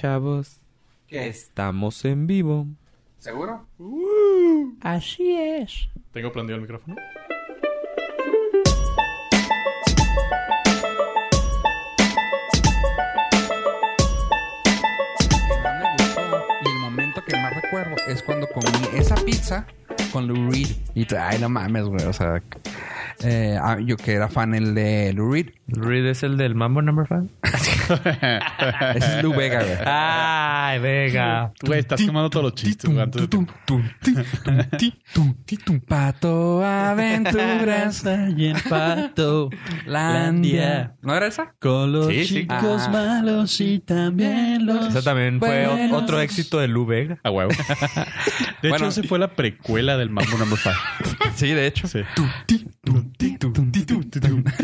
Pichavos. ¿Qué? Estamos en vivo. ¿Seguro? Así es. Tengo prendido el micrófono. que más me gustó y el momento que más recuerdo es cuando comí esa pizza con Lou Reed. Y tú, ay, no mames, güey. O sea, eh, ah, yo que era fan el de Lou Reed. Reed es el del Mambo Number 5. Ese es Lou Vega, güey. Ay, Vega. Güey, estás quemando todos los chistes, güey. antes de que- Tum, tum, ti, tum, ti, tum, ti, tum. Pato Aventuras y el pato. Landia. ¿No era esa? Con los Sí, sí. chicos malos y también los. Esa también fue buenos. o- otro éxito de Lu Vega. A huevo. De Bueno. hecho, ese fue la precuela del Mambo Number 5. Sí, de hecho. Sí. Tum, ti, tum, ti, tum, ti, tum, ti, tum.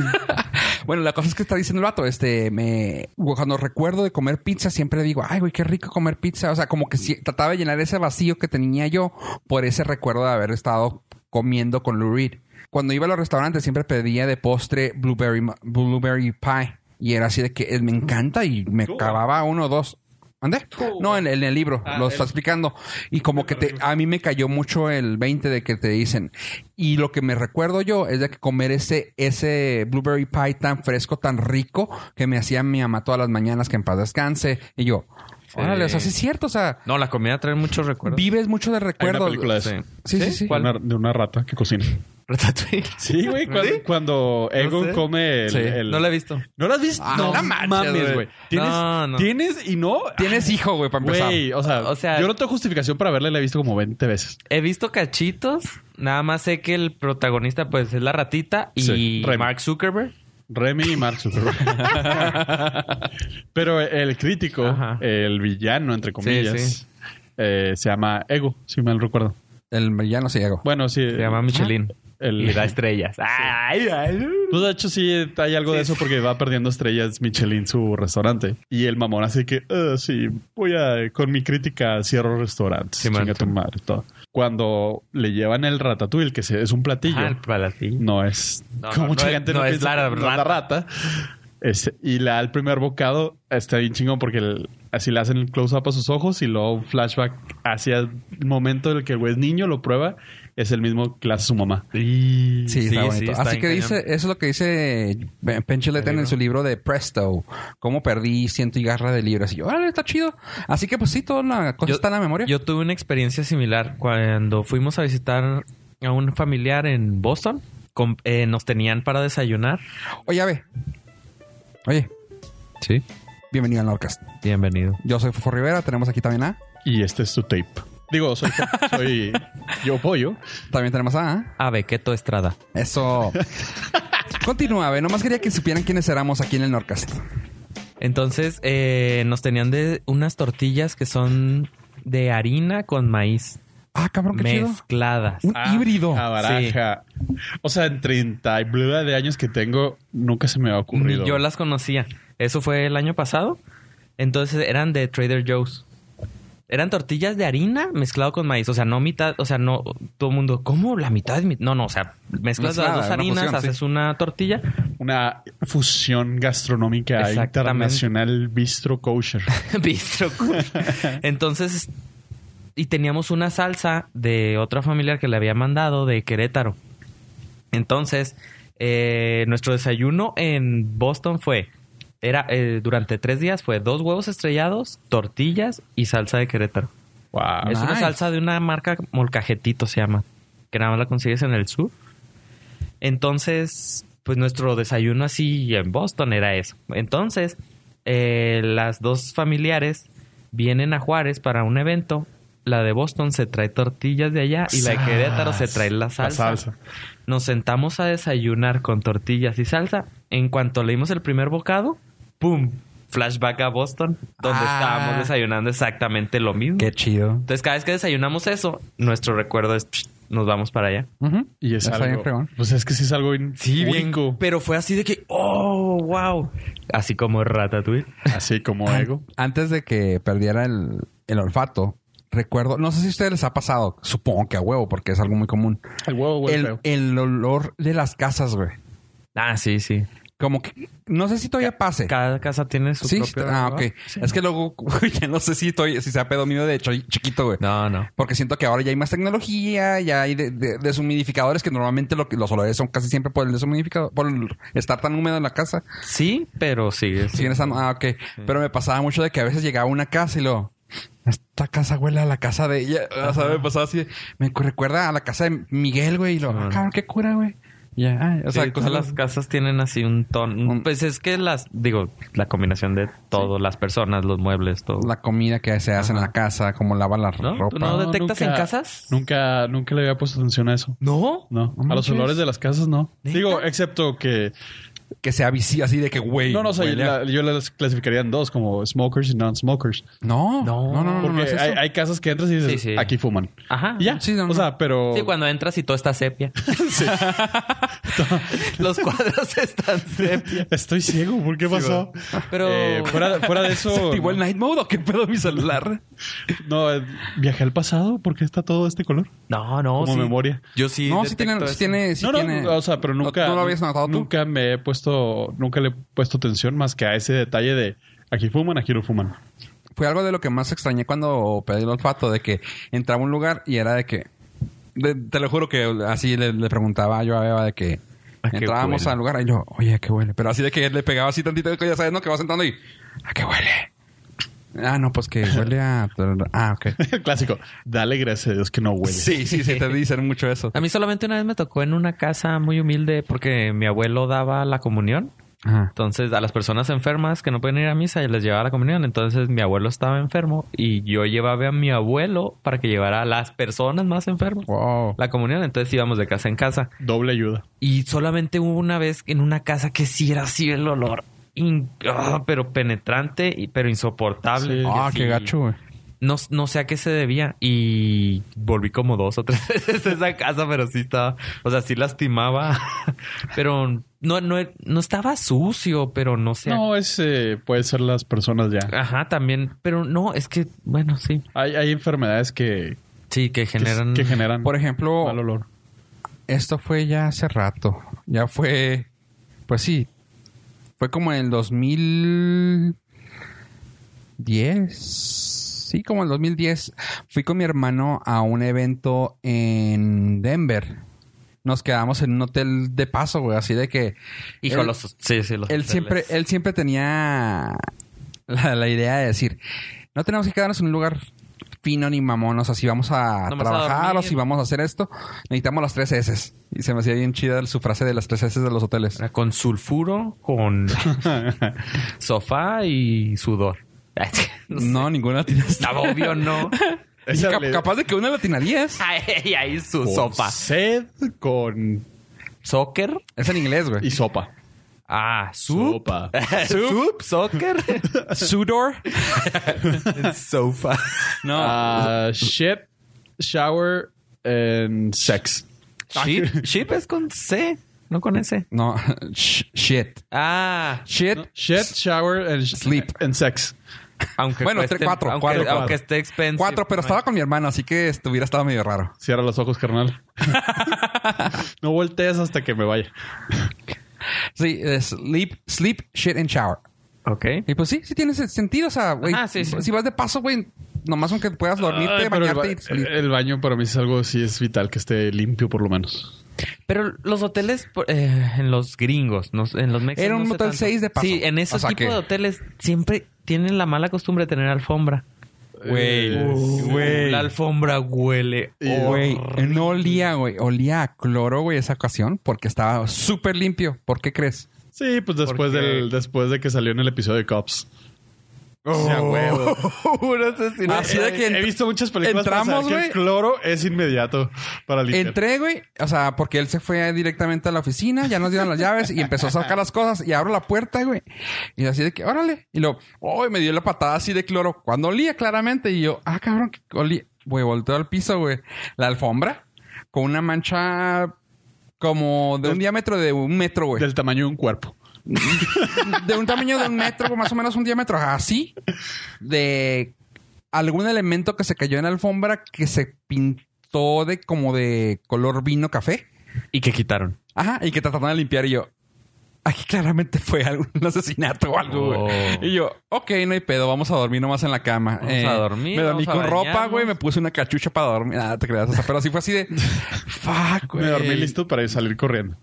Bueno, la cosa es que está diciendo el vato, este, me, cuando recuerdo de comer pizza, siempre digo, ay, güey, qué rico comer pizza. O sea, como que sí- trataba de llenar ese vacío que tenía yo por ese recuerdo de haber estado comiendo con Lou Reed. Cuando iba a los restaurantes, siempre pedía de postre blueberry, ma- blueberry pie. Y era así de que eh, me encanta y me acababa uno o dos. ¿Ande? No, en, en el libro, Ah, lo está explicando. Y como que te, a mí me cayó mucho el 20 de que te dicen. Y lo que me recuerdo yo es de que comer ese, ese blueberry pie tan fresco, tan rico, que me hacía mi mamá todas las mañanas que en paz descanse. Y yo, órale, o sea, sí es cierto, o sea, No, la comida trae muchos recuerdos. vives mucho de Hay una recuerdos. película de eso. Sí, sí, sí. De una, de una rata que cocina. Ratatouille. Sí, güey. Cuando, cuando Egon sé. come el... Sí. el- No la he visto. ¿No la has visto? Ah, no no manches, mames, güey. güey. ¿Tienes, No, no. Tienes y no... Tienes hijo, güey, para empezar. Güey, o sea, O sea- yo no tengo justificación para verla. La he visto como 20 veces. He visto cachitos. Nada más sé que el protagonista, pues, es la ratita y Sí, Eh, Remy. Mark Zuckerberg. Remy y Mark Zuckerberg. Pero el crítico, Ajá. el villano, entre comillas, sí. eh, se llama Ego, si mal recuerdo. El ya no se llegó. Bueno, sí. Se llama Michelin. el- Y da estrellas. Ay, ay. Pues de hecho sí hay algo de eso porque va perdiendo estrellas Michelin su restaurante. Y el mamón así que, "Eh, sí, voy a, con mi crítica cierro restaurantes. Sí, man, chinga tu sí. madre, todo. Cuando le llevan el ratatouille, que se- es un platillo, Ajá, para ti. no es... No, como no, mucha no es- gente no es piensa la que la rata. Este, y la el primer bocado está bien chingón porque el- así le hacen el close-up a sus ojos y luego un flashback hacia el momento en el que el güey es niño, lo prueba, es el mismo que le hace su mamá. Sí, está sí, bonito. está Así bien que cañón. dice, eso es lo que dice Pencheletten en su libro de Presto, cómo perdí ciento y garra de libras. Y yo, órale, está chido. Así que pues sí, toda la cosa Yo- está en la memoria. Yo tuve una experiencia similar cuando fuimos a visitar a un familiar en Boston. Com- eh, nos tenían para desayunar. Oye, a ver. Oye, Sí. bienvenido al Norcast. Bienvenido. Yo soy Fofo Rivera, tenemos aquí también a... Y este es tu tape. Digo, soy, soy yo pollo. También tenemos a... ¿ah? A Bequeto Estrada. Eso. Continúa, ve. Nomás quería que supieran quiénes éramos aquí en el Norcast. Entonces eh, nos tenían de unas tortillas que son de harina con maíz Ah, cabrón, qué chido. mezcladas. Un híbrido. A Ah, baraja. O sea, en 30 y bluda de años que tengo, nunca se me ha ocurrido. Ni yo las conocía. Eso fue el año pasado. Entonces eran de Trader Joe's. Eran tortillas de harina mezclado con maíz. O sea, no mitad, o sea, no todo el mundo, ¿cómo la mitad? y mi-?" No, no, o sea, mezclas Mezclada, las dos una harinas, fusión, sí. haces una tortilla. Una fusión gastronómica Exactamente. internacional bistro kosher. Bistro cool. Entonces, y teníamos una salsa de otra familiar que le había mandado de Querétaro. Entonces, eh, nuestro desayuno en Boston fue, era eh, durante tres días fue dos huevos estrellados, tortillas y salsa de Querétaro. Wow. Es una nice. salsa de una marca molcajetito se llama, que nada más la consigues en el sur. Entonces, pues nuestro desayuno así en Boston era eso. Entonces, eh, las dos familiares vienen a Juárez para un evento. La de Boston se trae tortillas de allá y la de Querétaro se trae la salsa. Nos sentamos a desayunar con tortillas y salsa. En cuanto leímos el primer bocado, ¡pum! Flashback a Boston, donde Ah. estábamos desayunando exactamente lo mismo. Qué chido. Entonces, cada vez que desayunamos eso, nuestro recuerdo es "Psh, nos vamos para allá. Ujú. Y es Está bien algo. fregón. Pues es que sí es algo in- único. Pero fue así de que, oh, wow. Así como Ratatouille. Así como ego. Antes de que perdiera el, el olfato, recuerdo... No sé si a ustedes les ha pasado. Supongo que a huevo, porque es algo muy común. El huevo, güey. el, feo. el olor de las casas, güey. Ah, sí, sí. Como que no sé si todavía pase. Cada casa tiene su sí, propio. ah, lugar. ok. es que luego güey, ya no sé si estoy, si sea pedo mío de hecho chiquito, güey. No, no. Porque siento que ahora ya hay más tecnología, ya hay de- de- deshumidificadores que normalmente lo que- los olores son casi siempre por el deshumidificador, por el- estar tan húmedo en la casa. Sí, pero sigue. Siguen estando- ah, ok. Pero me pasaba mucho de que a veces llegaba a una casa y lo. Esta casa huele a la casa de ella. O sea, me pasaba así. de- Me cu- recuerda a la casa de Miguel, güey. Y lo. Ah, Ah. cabrón, qué cura, güey. Ya. O sea, Sí, cosas todas las casas tienen así un Un- tono. Pues es que las, digo, la combinación de todo, las personas, los muebles, todo. la comida que se hace en la casa, cómo lava la ¿No? ropa. ¿Tú no detectas en casas? Nunca, nunca le había puesto atención a eso. No. No, a los manches. olores de las casas no. ¿Neta? Digo, excepto que... Que sea visi así de que, güey. No, no, o sea, huele a- la- yo las clasificaría en dos, como smokers y non-smokers. No, no, No. no, no, no, Porque es eso. Ah, hay, hay casas que entras y dices, Sí, sí. aquí fuman. Ajá. Y ya, Sí, no, no. o sea, pero... Sí, cuando entras y todo está sepia. Los cuadros están sepia. Estoy ciego, ¿por qué pasó? Pero- Eh, fuera, fuera de ¿Se eso... activó el night mode o qué pedo mi celular? No, eh, viajé al pasado, ¿por qué está todo este color? No, no. Como sí. memoria. Yo sí. no, sí detecto tiene, sí eso. tiene, sí no, no, tiene- o sea, pero nunca... ¿No lo habías notado tú? Nunca me he puesto... Nunca le he puesto atención más que a ese detalle de aquí fuman, aquí no fuman. Fue algo de lo que más extrañé cuando pedí el olfato, de que entraba a un lugar y era de que... de- te lo juro que así le, le preguntaba yo a Eva de que... ¿A qué Entrábamos huele? al lugar y yo, oye, ¿a qué huele? Pero así de que le pegaba así tantito, ya sabes, ¿no? Que vas entrando y... ¿A qué huele? Ah, no, pues que huele a... Ah, ok. El clásico. Dale gracias a Dios que no huele. Sí, sí, sí, te dicen mucho eso. A mí solamente una vez me tocó en una casa muy humilde porque mi abuelo daba la comunión. Ajá. Entonces, a las personas enfermas que no pueden ir a misa, yo les llevaba la comunión. Entonces, mi abuelo estaba enfermo y yo llevaba a mi abuelo para que llevara a las personas más enfermas Wow. la comunión. Entonces, íbamos de casa en casa. Doble ayuda. Y solamente hubo una vez en una casa que sí era así el olor. in- ah, pero penetrante, y- pero insoportable. Sí. Que Ah, qué sí. gacho, güey. No, no sé a qué se debía. Y volví como dos o tres veces a esa casa, pero sí estaba. O sea, sí lastimaba. Pero no, no, no estaba sucio, pero no sé. a- No, ese puede ser las personas ya. Ajá, también. Pero no, es que, bueno, sí. Hay, hay enfermedades que, Sí, que que, generan. que generan Por ejemplo, mal olor. Esto fue ya hace rato. Ya fue. Pues sí. Fue como en el 2010. Sí, como en el 2010. Fui con mi hermano a un evento en Denver. Nos quedamos en un hotel de paso, güey. Así de que. Hijo, él- los. Sí, sí, los. él hoteles. siempre, él siempre tenía la, la idea de decir, no tenemos que quedarnos en un lugar fino ni mamón, o sea, si vamos a Nomás a trabajar o dormir. si vamos a hacer esto, necesitamos las tres S. Y se me hacía bien chida su frase de las tres S de los hoteles. Era Con sulfuro, con sofá y sudor. Ay, No, no sé. ninguna tiene esta. Estaba obvio, ¿no? Y Esa cap- le- capaz de que una la atinarías. Ahí, ahí su Pues. con sopa. Sed con ¿Soccer? Es en inglés, y güey. sopa. Ah, soup. Sopa. soup, soccer. Sudor. Sofa. No. Ah, shit, shower and sex. Ah, Sheep. Sheep es con C, no con S. No. Sh- shit. Ah, Shit. Shit, shower and sh- Sleep. and sex. aunque Bueno, cueste- tres- cuatro, aunque, cuatro, aunque cuatro. esté expensive. Cuatro, pero No, estaba con mi hermano, así que estuviera estado medio raro. Cierra los ojos, carnal. no voltees hasta que me vaya. Sí, es sleep, sleep, shit and shower. Ok. Y pues sí, sí tiene ese sentido. O sea, güey, Ajá, sí, sí. si vas de paso, güey, nomás aunque puedas dormirte, Ay, pero el, bañarte y ba- salir. el baño para mí es algo, sí, es vital que esté limpio por lo menos. Pero los hoteles por- eh, en los gringos, no sé, en los mexicanos. Era un no sé hotel tanto. seis de paso. Sí, en esos O sea tipos que- de hoteles siempre tienen la mala costumbre de tener alfombra. Güey. Eh, Güey. La alfombra huele. Oh, Güey, no olía, güey. Olía a cloro, güey, esa ocasión porque estaba súper limpio. ¿Por qué crees? Sí, pues después Porque- del después de que salió en el episodio de Cops. no sé si no- Oh. Así de que He ent- visto muchas películas para entramos, saber que el güey. cloro es inmediato para limpiar. entré, güey. O sea, porque él se fue directamente a la oficina, ya nos dieron las llaves y empezó a sacar las cosas. Y abro la puerta, güey. Y así de que, órale. Y luego, ¡ay! me dio la patada así de cloro. Cuando olía claramente. Y yo, ah, cabrón, que olía. Güey, volteo al piso, güey. La alfombra con una mancha como de un diámetro de un metro, güey. Del tamaño de un cuerpo. De un tamaño de un metro, más o menos un diámetro así, de algún elemento que se cayó en la alfombra que se pintó de como de color vino café. Y que quitaron. Ajá, y que trataron de limpiar y yo. aquí claramente fue algún asesinato o algo, güey. Oh. Y yo, ok, no hay pedo, vamos a dormir nomás en la cama. Eh, Vamos a dormir, Me dormí vamos a con ropa, bañarnos. güey, me puse una cachucha para dormir. Nada, te creas. O sea, pero así fue así de, fuck, güey. Me dormí listo para salir corriendo.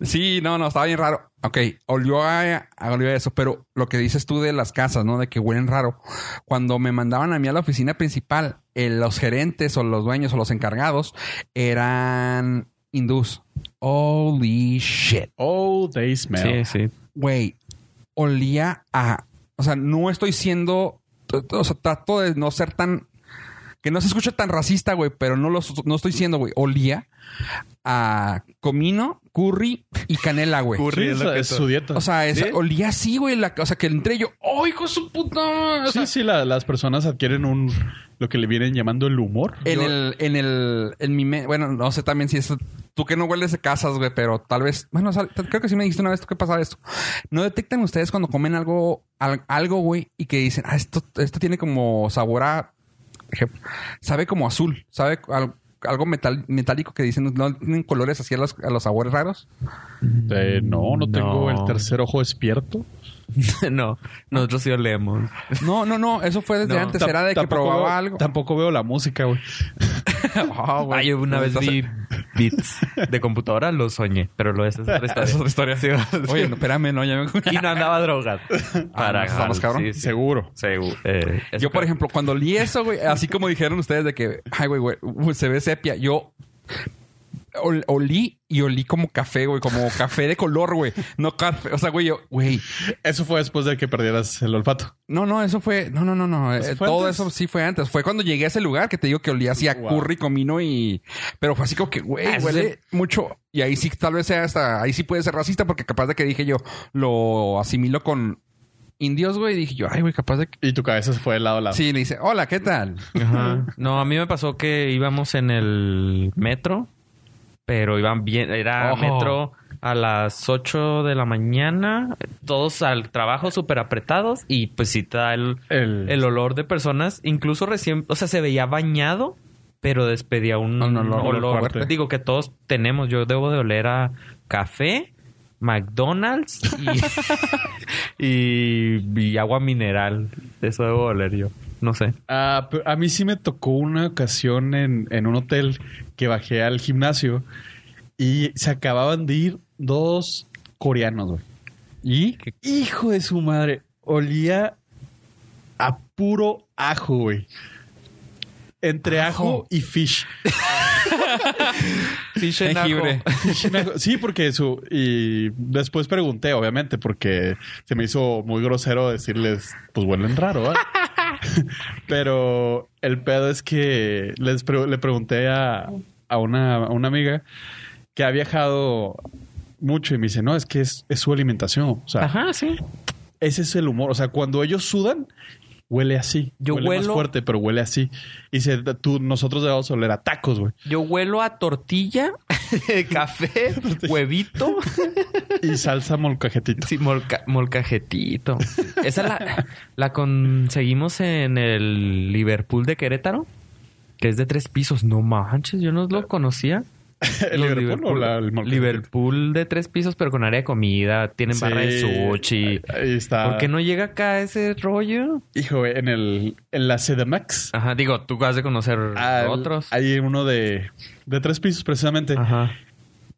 Sí, no, no, estaba bien raro. Ok, olió a, a- olió a eso, pero lo que dices tú de las casas, ¿no? De que huelen raro. Cuando me mandaban a mí a la oficina principal, eh, los gerentes o los dueños o los encargados eran hindús. Holy shit. Oh, they Sí, smell. sí. Güey, olía a... O sea, no estoy siendo... O sea, trato de no ser tan... Que no se escucha tan racista, güey, pero no lo no estoy siendo, güey. Olía a comino, curry y canela, güey. Sí, es lo esa que es son. su dieta. O sea, esa- Sí. olía así, güey. la- o sea, que entré yo, ¡oh, hijo de su puta! madre! O sea, Sí, sí, la- las personas adquieren un lo que le vienen llamando el humor. En el, en el, en mi, me- bueno, no sé también si es, tú que no hueles de casas, güey, pero tal vez, bueno, o sea, t- creo que sí me dijiste una vez tú que pasaba esto. ¿No detectan ustedes cuando comen algo, al- algo, güey, y que dicen, ah, esto, esto tiene como sabor a, ejemplo, sabe como azul, sabe al- algo metal, metálico que dicen, no tienen colores así a los, a los sabores raros? Eh, no, no No. tengo el tercer ojo despierto. no, nosotros sí olemos. No, no, no, eso fue desde No, antes, Tam- era de que tampoco probaba veo- algo. Tampoco veo la música, güey. Ah, güey. Ah, yo una vez Entonces- vi beats de computadora, lo soñé, pero lo es es otra historia. Es otra historia. Sí, Oye, no, espérame, no, ya me... Y no andaba drogado. no, estamos cabrón. Sí, sí. Seguro. Seguro. Eh, eso Yo, por creo. ejemplo, cuando leí eso, güey, así como dijeron ustedes de que, ay, güey, güey, uy, se ve sepia, yo ol- olí y olí como café, güey, como café de color, güey. No café, o sea, güey, yo, güey, Eso fue después de que perdieras el olfato. no, no, eso fue, no, no, no, no, ¿Eso eh, fue todo antes? eso sí fue antes. Fue cuando llegué a ese lugar que te digo que olía así a Wow. curry, comino y, pero fue así como que, güey, Ah, eso huele sí. mucho. Y ahí sí, tal vez sea hasta, ahí sí puede ser racista porque capaz de que dije yo, lo asimilo con indios, güey, y dije yo, ay, güey, capaz de que... Y tu cabeza se fue de lado a Ah. lado. Sí, le dice, hola, ¿qué tal? Ajá. No, a mí me pasó que íbamos en el metro, pero iban bien, era Ojo. metro a las 8 de la mañana, todos al trabajo súper apretados y pues sí te da el, El, el olor de personas, incluso recién, o sea, se veía bañado, pero despedía un, Un olor olor. fuerte. Digo que todos tenemos, yo debo de oler a café, McDonald's y, y, y agua mineral. Eso debo de oler yo, no sé. Ah, pe- a mí sí me tocó una ocasión en, en un hotel que bajé al gimnasio y se acababan de ir dos coreanos, güey. ¿Y? Hijo de su madre, olía a puro ajo, güey. Entre ajo, Ajo. y fish. Fish and ajo. Fish and ajo. Sí, porque su. Y después pregunté, obviamente, porque se me hizo muy grosero decirles, pues huelen raro, ¿verdad? Pero el pedo es que les pre- le pregunté a, a una, a una amiga que ha viajado mucho y me dice, no, es que es, es su alimentación. O sea, Ajá, sí. ese es el humor. O sea, cuando ellos sudan, huele así. Yo huele más huelo- fuerte, pero huele así. Y dice, tú, nosotros debemos oler a tacos, güey. Yo huelo a tortilla, café, huevito Y salsa molcajetito. sí, molca- molcajetito. Esa la, la conseguimos en el Liverpool de Querétaro, que es de tres pisos. No manches, yo no lo conocía. ¿El Los Liverpool, o la- el molcajete? Liverpool de tres pisos, pero con área de comida. Tienen barra de Sí, sushi. Ahí, ahí está. ¿Por qué no llega acá ese rollo? Hijo, güey, en, el, en la CDMX. Ajá, digo, tú has de conocer al- Ah, otros. Hay uno de, de tres pisos, precisamente. Ajá.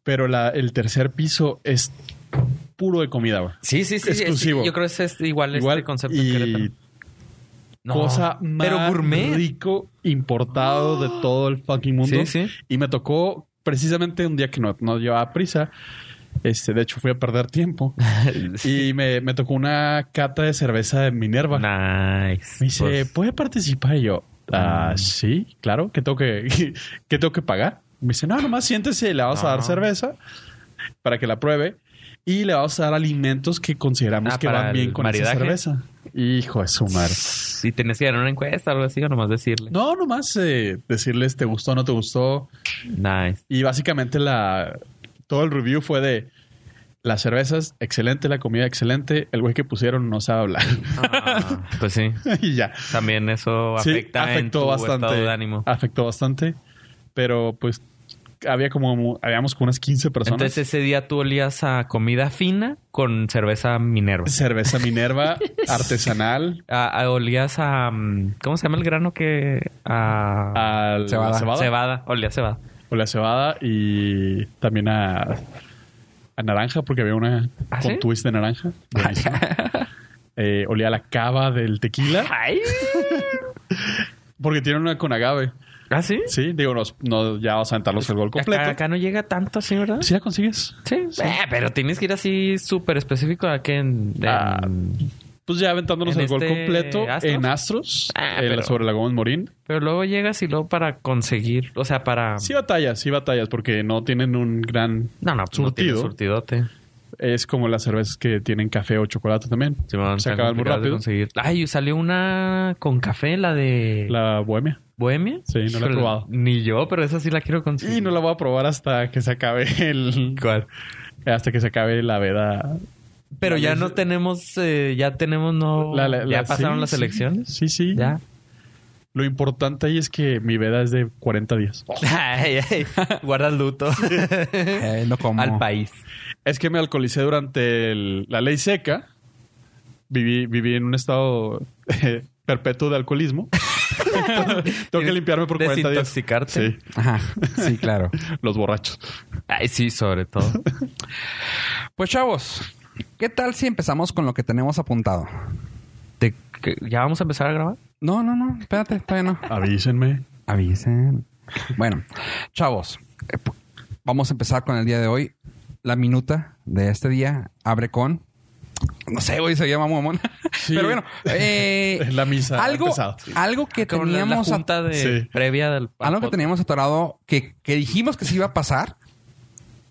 Pero la, el tercer piso es puro de comida, güey. Sí, sí, sí. es- Exclusivo. yo creo que es este- igual, Igual. este concepto en Querétaro. y No, cosa más pero gourmet. rico importado de todo el fucking mundo. Sí, sí. Y me tocó precisamente un día que no, no llevaba prisa. Este, de hecho, fui a perder tiempo. Y me, me tocó una cata de cerveza de Minerva. Nice. Me dice, Pues, mm. ¿puede participar? Y yo, ah, sí, claro, que tengo que, que tengo que pagar. Me dice, no, nomás siéntese, le vamos a dar Ah. cerveza para que la pruebe y le vamos a dar alimentos que consideramos Ah, que para van bien el con esa maridaje. cerveza. Hijo de su madre. si tenías que ganar una encuesta o algo así, o nomás decirle. No, nomás eh, decirles te gustó o no te gustó. Nice. Y básicamente la todo el review fue de las cervezas, excelente, la comida, excelente. El güey que pusieron no sabe hablar. Ah, pues sí. y ya. También eso Sí, afecta en tu estado de ánimo. Afectó bastante. Pero pues había como, habíamos como unas 15 personas. Entonces ese día tú olías a comida fina con cerveza Minerva. Cerveza Minerva, artesanal, A- a- olías a... mm, ¿Cómo se llama el grano que...? A... a la Cebada. cebada. Ah, Cebada. Olía a cebada. O la cebada y también a, a naranja, porque había una ¿Ah, con sí? twist de naranja. Buenísimo. Eh, olía a la cava del tequila, ¡Ay! porque tiene una con agave. ¿Ah, sí? Sí, digo, nos, no, ya vas a sentarlos el gol Acá, completo. acá no llega tanto así, ¿verdad? ¿Sí la consigues? Sí. Eh, pero tienes que ir así súper específico a que... en- en- Ah, Pues ya aventándonos ¿En el gol este completo Astros? en Astros, Ah, eh, pero- sobre la Gómez Morín. Pero luego llegas y luego para conseguir... O sea, para... Sí batallas, sí batallas, porque no tienen un gran... No, no, pues no tiene Surtido. surtidote. Es como las cervezas que tienen café o chocolate también. Simón, Se tan acaban muy complicado de rápido. conseguir. Ay, salió una con café, la de La bohemia. Bohemia. Sí, no la he Pero- probado. Ni yo, pero esa sí la quiero conseguir. Y no la voy a probar hasta que se acabe el... Hasta que se acabe la veda. Pero la ya ley- no tenemos, eh, ya tenemos, no. La- la- ya la- pasaron sí, las sí, elecciones. Sí, sí. Ya. Lo importante ahí es que mi veda es de 40 días. Ay, ay, Guarda el luto Eh, no como. al país. Es que me alcoholicé durante el- la ley seca. Viví, viví en un estado eh, perpetuo de alcoholismo. Tengo que limpiarme por 40 días. Desintoxicarte. Sí, Ajá. Sí, claro. los borrachos. Ay, sí, sobre todo. Pues chavos, ¿qué tal si empezamos con lo que tenemos apuntado? ¿Te- que- ¿Ya vamos a empezar a grabar? No, no, no, espérate, todavía no. Avísenme. Avisen. Bueno, chavos, eh, pu- vamos a empezar con el día de hoy. La minuta de este día abre con. No sé, hoy se llama mamón. Sí. Pero bueno, eh, Es la misa, Algo, empezado. algo que Cabrón, es la teníamos. a- junta de Sí. previa del. Algo que teníamos atorado que, que dijimos que se iba a pasar.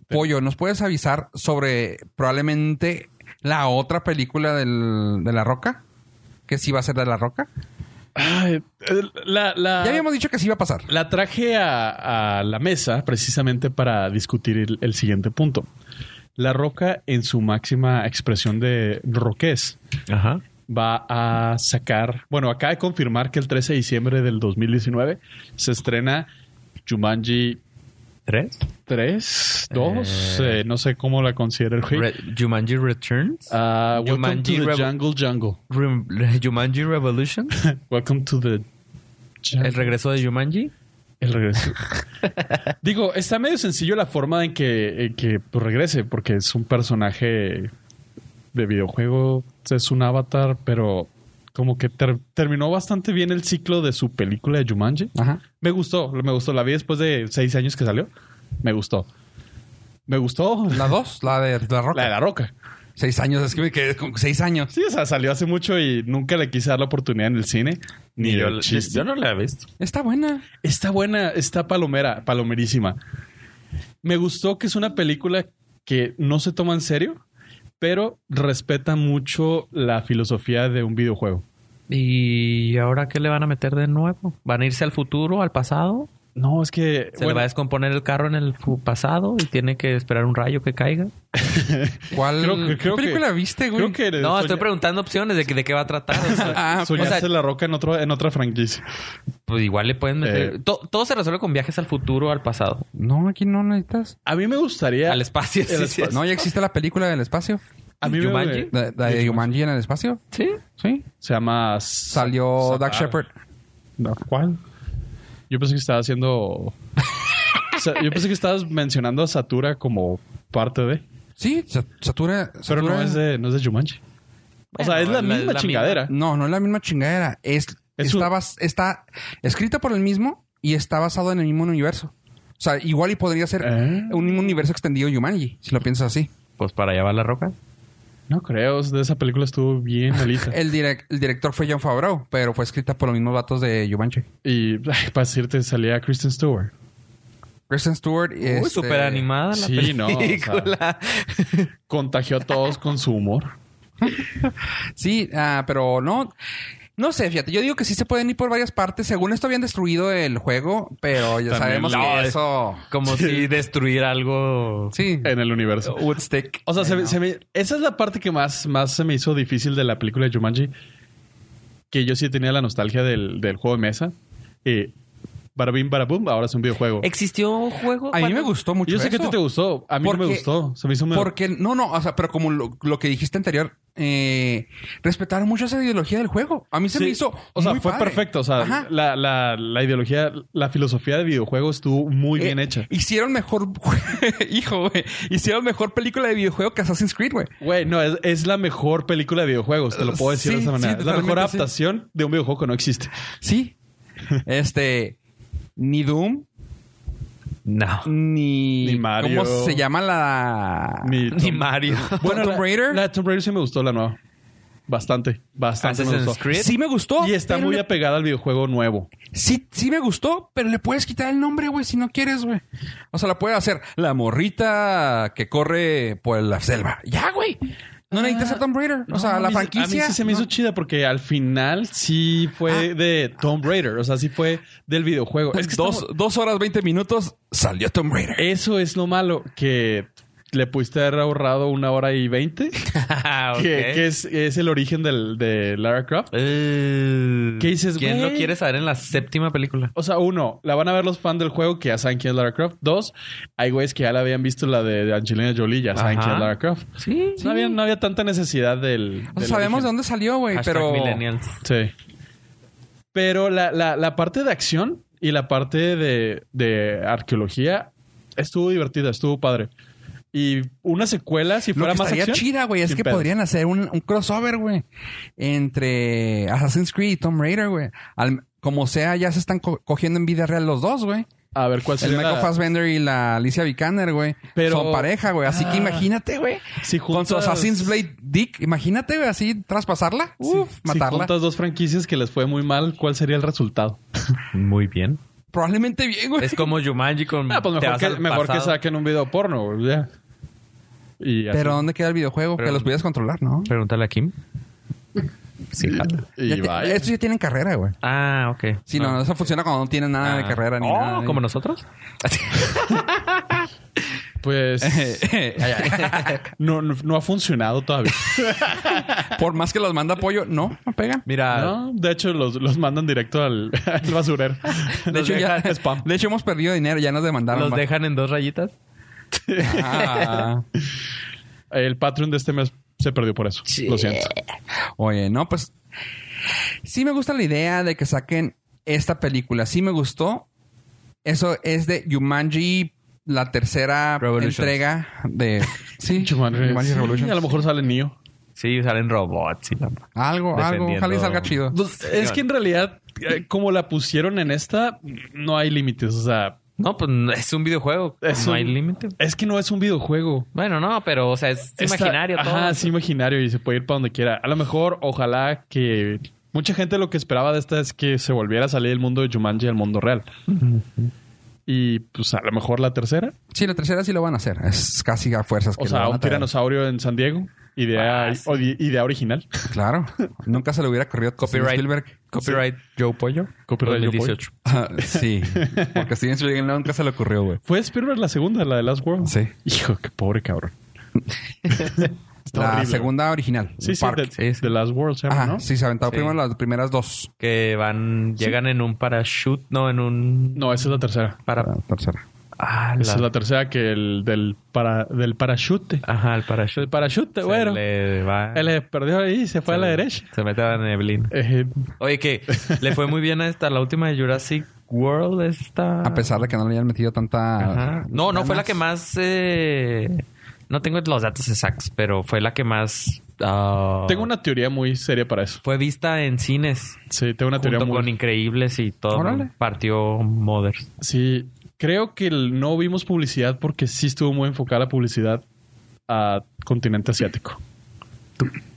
Pollo, ¿nos puedes avisar sobre probablemente la otra película del- de La Roca? Que sí va a ser de La Roca. Ay, eh, la, la- Ya habíamos dicho que sí iba a pasar. la traje a, a la mesa precisamente para discutir el, el siguiente punto. La roca, en su máxima expresión de roquez, Ajá. va a sacar. Bueno, acaba de confirmar que el 13 de diciembre del 2019 se estrena Jumanji ¿Tres? 3, 2, Eh. eh, no sé cómo la considera el juego. Re- Jumanji Returns. Ah, welcome Jumanji to the Revo- Jungle Jungle. Rem- Jumanji Revolution. Welcome to the. El regreso de Jumanji. El regreso. Digo, está medio sencillo la forma en que, en que pues, regrese, porque es un personaje de videojuego, es un avatar, pero como que ter- terminó bastante bien el ciclo de su película de Jumanji. Ajá. Me gustó, me gustó. La vi después de seis años que salió. Me gustó. Me gustó la, La dos, la de La Roca. de la roca. Seis años, es que me quedé con seis años. Sí, o sea, salió hace mucho y nunca le quise dar la oportunidad en el cine. Ni yo, chiste. no la he visto. Está buena. Está buena, está palomera, palomerísima. Me gustó que es una película que no se toma en serio, pero respeta mucho la filosofía de un videojuego. ¿Y ahora qué le van a meter de nuevo? ¿Van a irse al futuro, al pasado? No, es que ¿Se le bueno, va a descomponer el carro en el fu- pasado y tiene que esperar un rayo que caiga? ¿Cuál Creo que- ¿qué creo que- película viste, güey? creo que No, soña- estoy preguntando opciones de, que- de qué va a tratar. o sea, Ah, pues, soñaste o sea- la roca en otro en otra franquicia. pues igual le pueden meter... Eh. To- todo se resuelve con viajes al futuro, al pasado. no, aquí no necesitas. A mí me gustaría Al espacio. El Sí, sí. espacio. No, ya existe la película del espacio. a mí me- Jumanji. La, la de Jumanji en el espacio. Sí. Sí. se llama S- Salió Dark Ah, Shepard. no, ¿Cuál? Yo pensé que estaba haciendo Sa- Yo pensé que estabas mencionando a Satura como parte de, Sí, Sa- Satura. pero no Satura- es de no es de Jumanji. o sea, Bueno, es la es la- misma es la chingadera. No, no es la misma chingadera. Es, Es está, un- bas- está escrita por el mismo y está basado en el mismo universo. O sea, igual y podría ser Ah. un mismo universo extendido Jumanji, si lo piensas así. Pues para allá va la roca. No creo, de esa película estuvo bien malita. El, direc- el director fue John Favreau, pero fue escrita por los mismos vatos de Jumanji. y ay, para decirte, salía Kristen Stewart. Kristen Stewart Uy, este, súper animada la sí, no, o sea. película. Contagió a todos con su humor. Sí, ah, pero no. No sé, fíjate, yo digo que sí se pueden ir por varias partes. Según esto habían destruido el juego, pero ya También sabemos la- que eso. Como si destruir algo... Sí. En el universo. Woodstick. O sea, se, me- se me- esa es la parte que más, más se me hizo difícil de la película de Jumanji. Que yo sí tenía la nostalgia del, del juego de mesa. Eh, barabim, barabum, ahora es un videojuego. ¿Existió un juego? A mí me cuando- gustó mucho. Yo sé que a eso. ti te gustó. A mí no Porque- me gustó. Se me hizo medio- Porque, no, no, o sea, pero como lo, lo que dijiste anterior, eh, respetaron mucho esa ideología del juego. A mí se Sí. me hizo. O sea, muy fue padre. perfecto. O sea, Ajá. la, la, la ideología, la filosofía de videojuegos estuvo muy bien Eh, hecha. Hicieron mejor. Hijo, güey. Hicieron mejor película de videojuego que Assassin's Creed, güey. Güey, no, es, es la mejor película de videojuegos, te lo puedo decir Sí, de esa sí, manera. es la mejor totalmente, sí. adaptación de un videojuego que no existe. Sí. este. Ni Doom, No. ni. Ni Mario. ¿Cómo se llama la. Ni- Ni Mario. Bueno, Tomb la- La de Tomb Raider sí me gustó, la nueva. Bastante, bastante me Assassin's gustó. Creed. Sí me gustó. Y está pero muy le- apegada al videojuego nuevo. Sí, sí me gustó, pero le puedes quitar el nombre, güey, si no quieres, güey. O sea, la puedes hacer la morrita que corre por la selva. Ya, güey. No necesitas a Tomb Raider. O sea, Ah. No, a la mí- franquicia. A mí sí se me no. Ah. hizo chida porque al final sí fue de Tomb Raider. O sea, sí fue del videojuego. Es que Pues dos, estamos- Eh, dos horas, 20 minutos, salió Tomb Raider. Eso es lo malo, que le pudiste haber ahorrado una hora y veinte, Ah, ok. que, que es, es el origen del, de Lara Croft. Eh, ¿Qué dices, ¿Quién güey? lo quiere saber en la séptima película? O sea, uno, la van a ver los fans del juego que ya saben quién es Lara Croft. Dos, hay güeyes que ya la habían visto la de, de Angelina Jolie, ya saben Ajá. quién es Lara Croft. Sí. No, había, no había tanta necesidad del. O sea, del sabemos de origen. dónde salió, güey, Hashtag pero. millennials. Sí. Pero la, la- la parte de acción y la parte de, de arqueología estuvo divertida, estuvo padre. Y una secuela, si Lo fuera que más estaría acción. chida, güey, es sin que pedos. podrían hacer un, un crossover, güey, entre Assassin's Creed y Tomb Raider, güey. Al- Como sea, ya se están co- cogiendo en vida real los dos, güey. A ver cuál El sería. Michael la- Fassbender y la Alicia Vikander, güey. Pero- Son pareja, güey. Así que imagínate, güey. Si Con su juntas- Assassin's Blade Dick. Imagínate, güey, así traspasarla. si- Uf, si matarla. juntas dos franquicias que les fue muy mal, ¿cuál sería el resultado? Muy bien. Probablemente bien, güey. Es como Jumanji con. Ah, pues te mejor, vas que, al mejor que pasado. saquen un video porno, güey, ya. Y así. Pero ¿dónde queda el videojuego? Pero- que los pudieras controlar, ¿no? Pregúntale a Kim. Sí, jala. Y Ya te- vaya. Estos ya tienen carrera, güey. Ah, ok. Sí, no, eso funciona cuando no tienen nada de Ah. carrera ni Oh, nada. como nosotros. Eh, Pues no, no, no ha funcionado todavía. Por más que los manda apoyo, no, no pega. Mira, No, de hecho, los, los mandan directo al, al basurero. De hecho, ya, de hecho, hemos perdido dinero, ya nos demandaron. los va. dejan en dos rayitas. Ah. El Patreon de este mes se perdió por eso. Lo siento. Oye, no, pues sí me gusta la idea de que saquen esta película. Sí me gustó. Eso es de Jumanji, la tercera Revolutions. entrega de sí, Jumanji- Jumanji sí, Revolutions. a lo mejor sale Neo. Sí, salen robots y la- Algo, algo, Defendiendo- ojalá y salga chido. Pues, es que en realidad, eh, como la pusieron en esta, no hay límites. O sea, No, pues es un videojuego. Es no un- hay límite. es que no es un videojuego. Bueno, no, pero, o sea, es Está- imaginario todo. Ajá, es imaginario y se puede ir para donde quiera. A lo mejor, ojalá que. Mucha gente lo que esperaba de esta es que se volviera a salir el mundo de Jumanji al mundo real. Y pues a lo mejor la tercera. Sí, la tercera sí lo van a hacer. Es casi a fuerzas que O lo sea, van a un traer. tiranosaurio en San Diego. Idea, Ah, sí. o- idea original. Claro, nunca se le hubiera corrido a Steven Copyright. Spielberg. Copyright Joe Pollo. Copyright Joe Pollo. 2018. Ah, sí, porque a Steven Spielberg nunca se le ocurrió, güey. ¿Fue Spielberg la segunda, la de Last World? Sí. Hijo, qué pobre cabrón. Está La horrible. segunda original. Sí, sí, Park. de, Sí, sí. de Last World, se llama, Ajá, ¿no? sí, se aventaba Sí. primero las primeras dos. Que van, llegan en un parachute, no, en un. No, esa es la tercera. Para... La tercera. Ah, Esa es la- la tercera que el del, para, del parachute. Ajá, el parachute. El parachute, Se bueno. le va- Él se perdió ahí y se fue a la se- derecha. Se mete a la neblina. Eh, Oye, que le fue muy bien a esta, la última de Jurassic World, esta. A pesar de que no le hayan metido tanta. Ajá. No, no fue la ganas. que más. eh, No tengo los datos exactos, pero fue la que más. ah, tengo una teoría muy seria para eso. Fue vista en cines. Sí, tengo una teoría Junto muy... con Increíbles y todo. Órale. Partió Mothers. Sí, creo que el- no vimos publicidad porque sí estuvo muy enfocada la publicidad a continente asiático.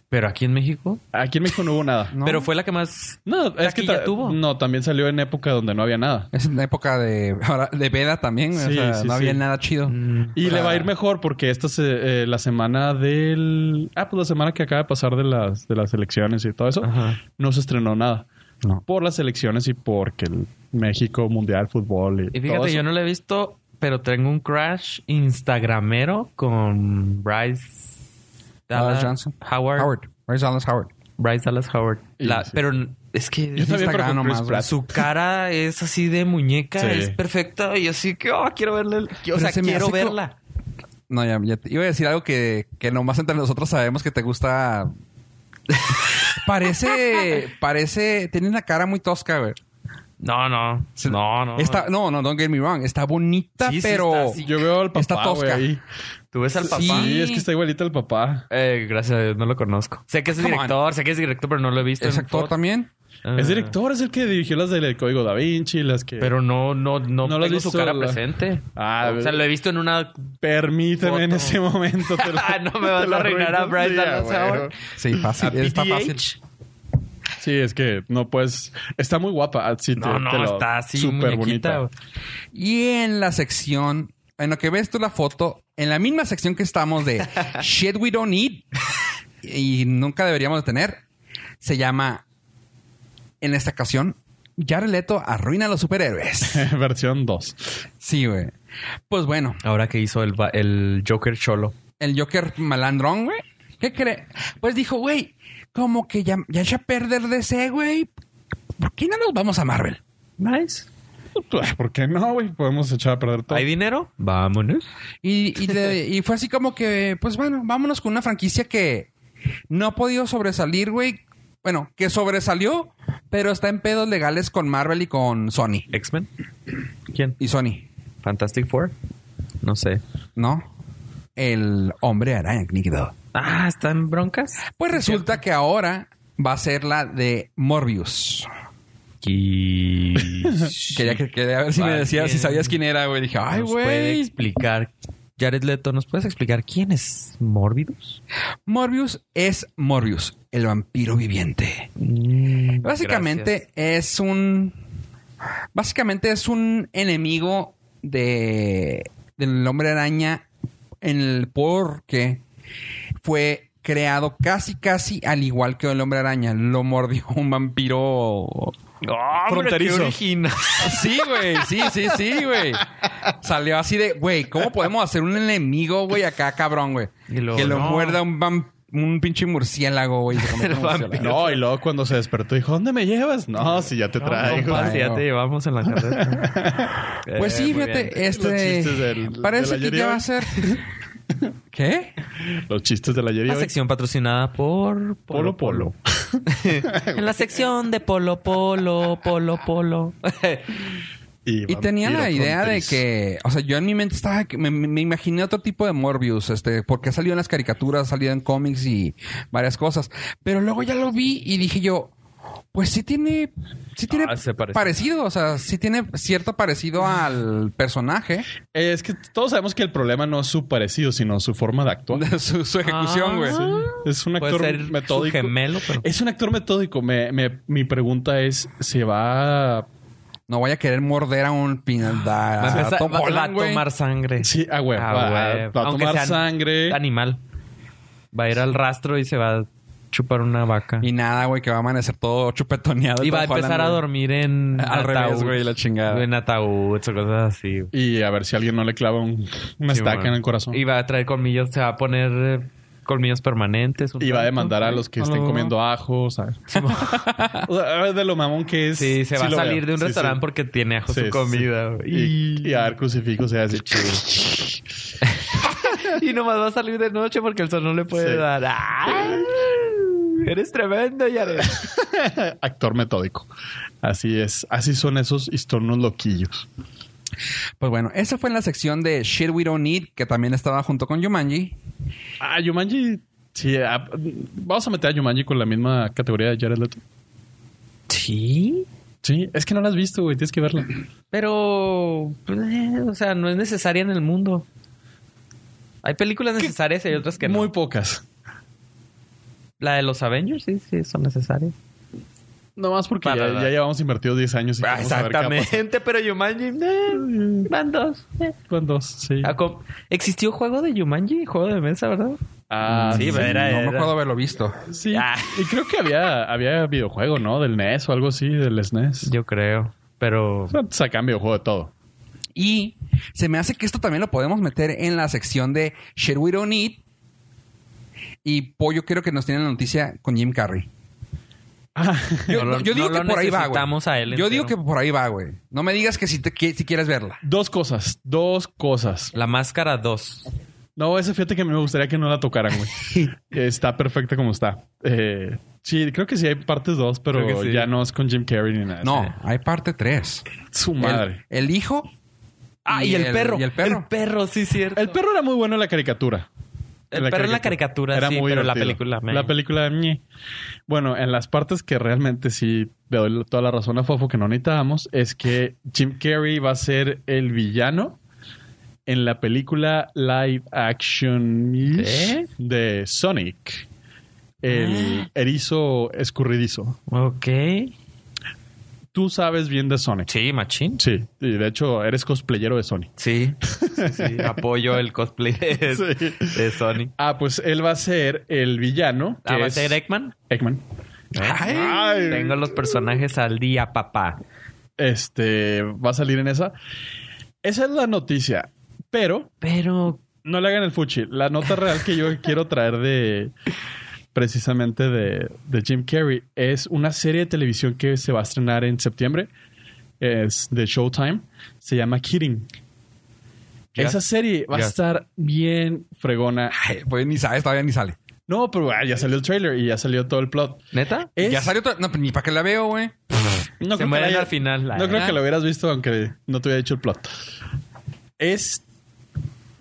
Pero aquí en México. Aquí en México no hubo nada. No. Pero fue la que más. No, es que Taquilla ta- tuvo. no, también salió en época donde no había nada. Es en época de. Ahora, de veda también. güey. Sí, o sea, sí, no había sí. nada chido. Mm. Y O sea- le va a ir mejor porque esta es eh, eh, la semana del... Ah, pues la semana que acaba de pasar de las, de las elecciones y todo eso. Ajá. No se estrenó nada. No. Por las elecciones y porque el México, Mundial, Fútbol y, Y todo fíjate, eso. yo no la he visto, pero tengo un crash instagramero con Bryce. Dallas Johnson. Ah, Howard. Howard. Where's Dallas Howard? Bryce Dallas Howard. Y La- sí. Pero Es que Yo también, pero Instagram con Chris nomás, Pratt. su cara es así de muñeca, Sí. es perfecta y así que, oh, quiero verla. O Pero sea, se me quiero hace co- verla. No, ya, ya te- iba a decir algo que, que nomás entre nosotros sabemos que te gusta. parece, parece, tiene una cara muy tosca, güey. No, no, Se- no, no. Está, no, no, don't get me wrong. Está bonita, Sí, sí, pero. está así. Yo veo al Está papá, güey, tosca. ahí. Tú ves al papá. Sí, es que está igualito al papá. Eh, gracias a Dios, no lo conozco. Sé que es Come on. director, sé que es director, pero no lo he visto. ¿Es en actor foto. también? Ah. Es director, es el que dirigió las del Código Da Vinci, las que... Pero no, no, no, No lo has tengo su visto, cara la- presente. Ah, o sea, lo he visto en una. Permíteme en Foto. ese momento. te lo- Ah, no me te vas lo a arruinar a arruino, Bryce sí, Dallas a ahora. huevo. Sí, fácil. ¿A Está PTH? fácil. Sí, es que no puedes... Está muy guapa. ah, Sí, te- No, no, te lo- está así. súper muñequita, bonita. güey. Y en la sección, en lo que ves tú la foto, en la misma sección que estamos de Shit We Don't Need y nunca deberíamos de tener, se llama, en esta ocasión, Jared Leto arruina a los superhéroes. Versión 2. Sí, güey. Pues bueno, Ahora que hizo el, va- el Joker Cholo. el Joker malandrón, güey. ¿Qué cree? Pues dijo, güey, como que ya, ya echa a perder DC, güey. ¿Por qué no nos vamos a Marvel? Nice. Pues, ¿Por qué no, güey? Podemos echar a perder todo. ¿Hay dinero? Vámonos. Y, y le- y fue así como que, pues bueno, vámonos con una franquicia que no ha podido sobresalir, güey. Bueno, que sobresalió, pero está en pedos legales con Marvel y con Sony. ¿X-Men? ¿Quién? Y Sony, ¿Fantastic Four? No sé. ¿no? El hombre araña níquido. Ah, ¿están broncas? Pues resulta que ahora va a ser la de Morbius. Y... Quería, que- quería ver si me Vale. decías, si sabías quién era, güey. Dije, ay, ¿Nos puede güey. explicar... Jared Leto, ¿nos puedes explicar quién es Morbidus? Morbius es Morbius, el vampiro viviente. Mm, Básicamente es un. Básicamente es un enemigo de. del hombre araña. En el porque fue creado casi casi al igual que el hombre araña. Lo mordió un vampiro. fronterizo. Fronterizo. Sí, güey. Sí, sí, sí, güey. Salió así de, güey, ¿cómo podemos hacer un enemigo, güey, acá, cabrón, güey? Y luego, Que lo no. muerda un vam- Un pinche murciélago, güey. y se convierte en El murciélago. vampiro. No, y luego cuando se despertó dijo, ¿dónde me llevas? No, si ya te traigo. compa. ya te llevamos en la carreta. Pues Eh, sí, muy fíjate, bien. Los este. chistes del- parece del ayer que y ya va hoy. a ser. ¿Qué? Los chistes de la La hoy. sección patrocinada por Polo Polo. En la sección de Polo Polo, Polo Polo. Y tenía la vampiro idea de fronterizo. que. O sea, yo en mi mente estaba. que Me, me- me imaginé otro tipo de Morbius, este, porque ha salido en las caricaturas, ha salido en cómics y varias cosas. Pero luego ya lo vi y dije yo. Pues sí tiene. Sí tiene Ah, se parece. parecido. O sea, sí tiene cierto parecido al personaje. Eh, es que todos sabemos que el problema no es su parecido, sino su forma de actuar. su, su ejecución, güey. Ah. Es un Puede actor ser su metódico. gemelo, pero Es un actor metódico. Me- me- mi pregunta es, ¿se va a... No vaya a querer morder a un pinada. va a, empezar- va- va a güey. tomar sangre. Sí, ah, güey, Ah, va, güey. va a Aunque tomar sea sangre. Animal. Va a ir al rastro y se va a chupar una vaca. Y nada, güey, que va a amanecer todo chupetoneado. Y va a todo empezar jalando, a güey. dormir en Al revés, güey, la chingada. En ataúd o cosas así. güey. Y a ver si alguien no le clava un- una Sí, estaca bueno. en el corazón. Y Y, va a traer colmillos, se va a poner eh, colmillos permanentes. un va a rato. demandar a los que estén lo- comiendo ajo, ¿sabes? O sea, de lo mamón que es. Sí, se va lo a veo. salir de un Sí, sí. restaurante porque tiene ajo Sí, su sí, comida. güey. Y, y a ver crucifijos, o sea, así. Y nomás va a salir de noche porque el sol no le puede Sí. dar. ¡Ay! Eres tremendo, Yaret. Actor metódico. Así es. Así son esos histornos loquillos. Pues bueno, esa fue en la sección de Shit We Don't Need, que también estaba junto con Yumanji. Ah, Yumanji. Sí, ah, vamos a meter a Yumanji con la misma categoría de Jared Leto. Sí, Sí, es que no la has visto, güey. Tienes que verla. pero. eh, o sea, no es necesaria en el mundo. Hay películas necesarias y hay otras que no. Muy pocas. La de los Avengers, sí, sí, son necesarias. Nomás porque Para ya, la- ya llevamos invertido 10 años. Y queremos saber qué va a pasar. pero Yumanji. eh, van dos. eh. Con dos, sí. Ah, com- ¿Existió juego de Yumanji? Juego de mesa, ¿verdad? Ah, Sí, pero era- no me era- acuerdo haberlo visto. Sí. Ah. Y creo que había, había videojuego, ¿no? Del NES o algo así, del E SNES. Yo creo. Pero. O sea, Sacan videojuego de todo. Y se me hace que esto también lo podemos meter en la sección de Shit We Don't Need. Y Pollo creo que nos tiene la noticia con Jim Carrey. Ah. Yo, No lo- yo digo no que lo por ahí va, güey. necesitamos a él Yo digo entero. que por ahí va, güey. No me digas que si, te, que si quieres verla. Dos cosas, dos cosas. La máscara 2. No, esa fíjate que me gustaría que no la tocaran, güey. está perfecta como está. Eh, sí, creo que sí hay partes dos, Creo pero que sí. ya no es con Jim Carrey ni nada. No, hay parte 3. Su madre. El, el hijo. Ah, y, el, perro. Y el perro. sí, cierto. El, perro era muy bueno en la caricatura. El perro en la caricatura, sí, pero la película, me- La película, ñe. Bueno, en las partes que realmente sí le doy toda la razón a Fofo que no necesitábamos, es que Jim Carrey va a ser el villano en la película live action ¿Eh? de Sonic. Ah. El erizo escurridizo. Ok. Tú sabes bien de Sonic. Sí, machín. Sí, y de hecho eres cosplayero de Sonic. Sí. Sí, apoyo el cosplay de, Sí. de Sony. Ah, pues él va a ser el villano. que Ah, ¿va a es ser Eggman? Eggman. Ay. Tengo los personajes al día, papá. Este va a salir en esa. Esa es la noticia. Pero Pero no le hagan el fuchi. La nota real que yo quiero traer de precisamente de, de Jim Carrey es una serie de televisión que se va a estrenar en septiembre. Es de Showtime. Se llama Kidding. Ya. Esa serie va Ya. a estar bien fregona. Ay, pues ni sabes, todavía ni sale. No, pero ah, ya salió el trailer y ya salió todo el plot. ¿Neta? Es- Ya salió. to- No, pues, ni para qué la veo, güey. No creo Se que mueren la- al final. la No creo verdad. que lo hubieras visto aunque no te hubiera dicho el plot. Es...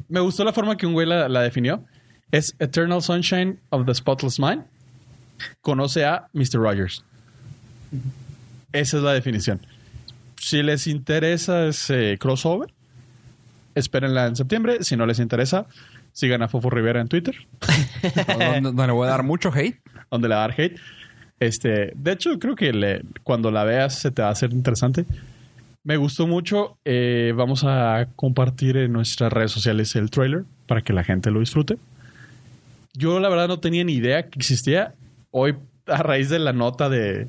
Me gustó la forma que un güey la, la definió. Es Eternal Sunshine of the Spotless Mind. Conoce a Mr. Rogers. Esa es la definición. Si les interesa ese crossover, espérenla en septiembre. Si no les interesa, sigan a Fofo Rivera en Twitter, No, no- no le voy a dar mucho hate. donde le va a dar hate. Este, de hecho, creo que le- cuando la veas se te va a hacer interesante. Me gustó mucho. Eh, vamos a compartir en nuestras redes sociales el trailer para que la gente lo disfrute. Yo la verdad no tenía ni idea que existía. Hoy, a raíz de la nota de,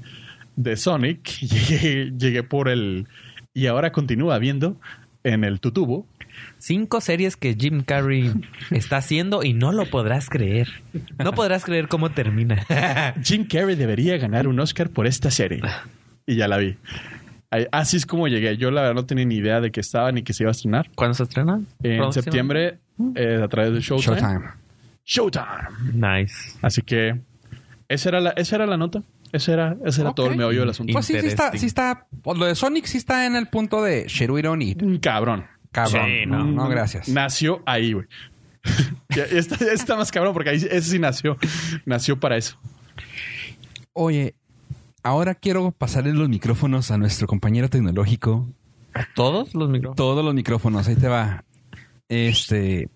de Sonic, llegué, llegué por el... Y ahora continúa viendo en el tutubo. Cinco series que Jim Carrey está haciendo y no lo podrás creer. No podrás creer cómo termina. Jim Carrey debería ganar un Oscar por esta serie. Y ya la vi. Ay, Así es como llegué. Yo la verdad no tenía ni idea de que estaba ni que se iba a estrenar. ¿Cuándo se estrena? En Próximo. septiembre, eh, a través de Showtime. Showtime. Showtime. Nice. Así que esa era la, esa era la nota. Esa era, esa era Ok. todo el meollo del asunto. Y- Pues sí, sí está, sí está. Pues Lo de Sonic sí está en el punto de Shit we don't need. Un Cabrón. Cabrón. Sí, no. no. gracias. Nació ahí, güey. Ya- ya está, ya está más cabrón porque ahí, ese sí nació. Nació para eso. Oye, ahora quiero pasarle los micrófonos a nuestro compañero tecnológico. ¿Todos los micrófonos? Todos los micrófonos, ahí te va. Este.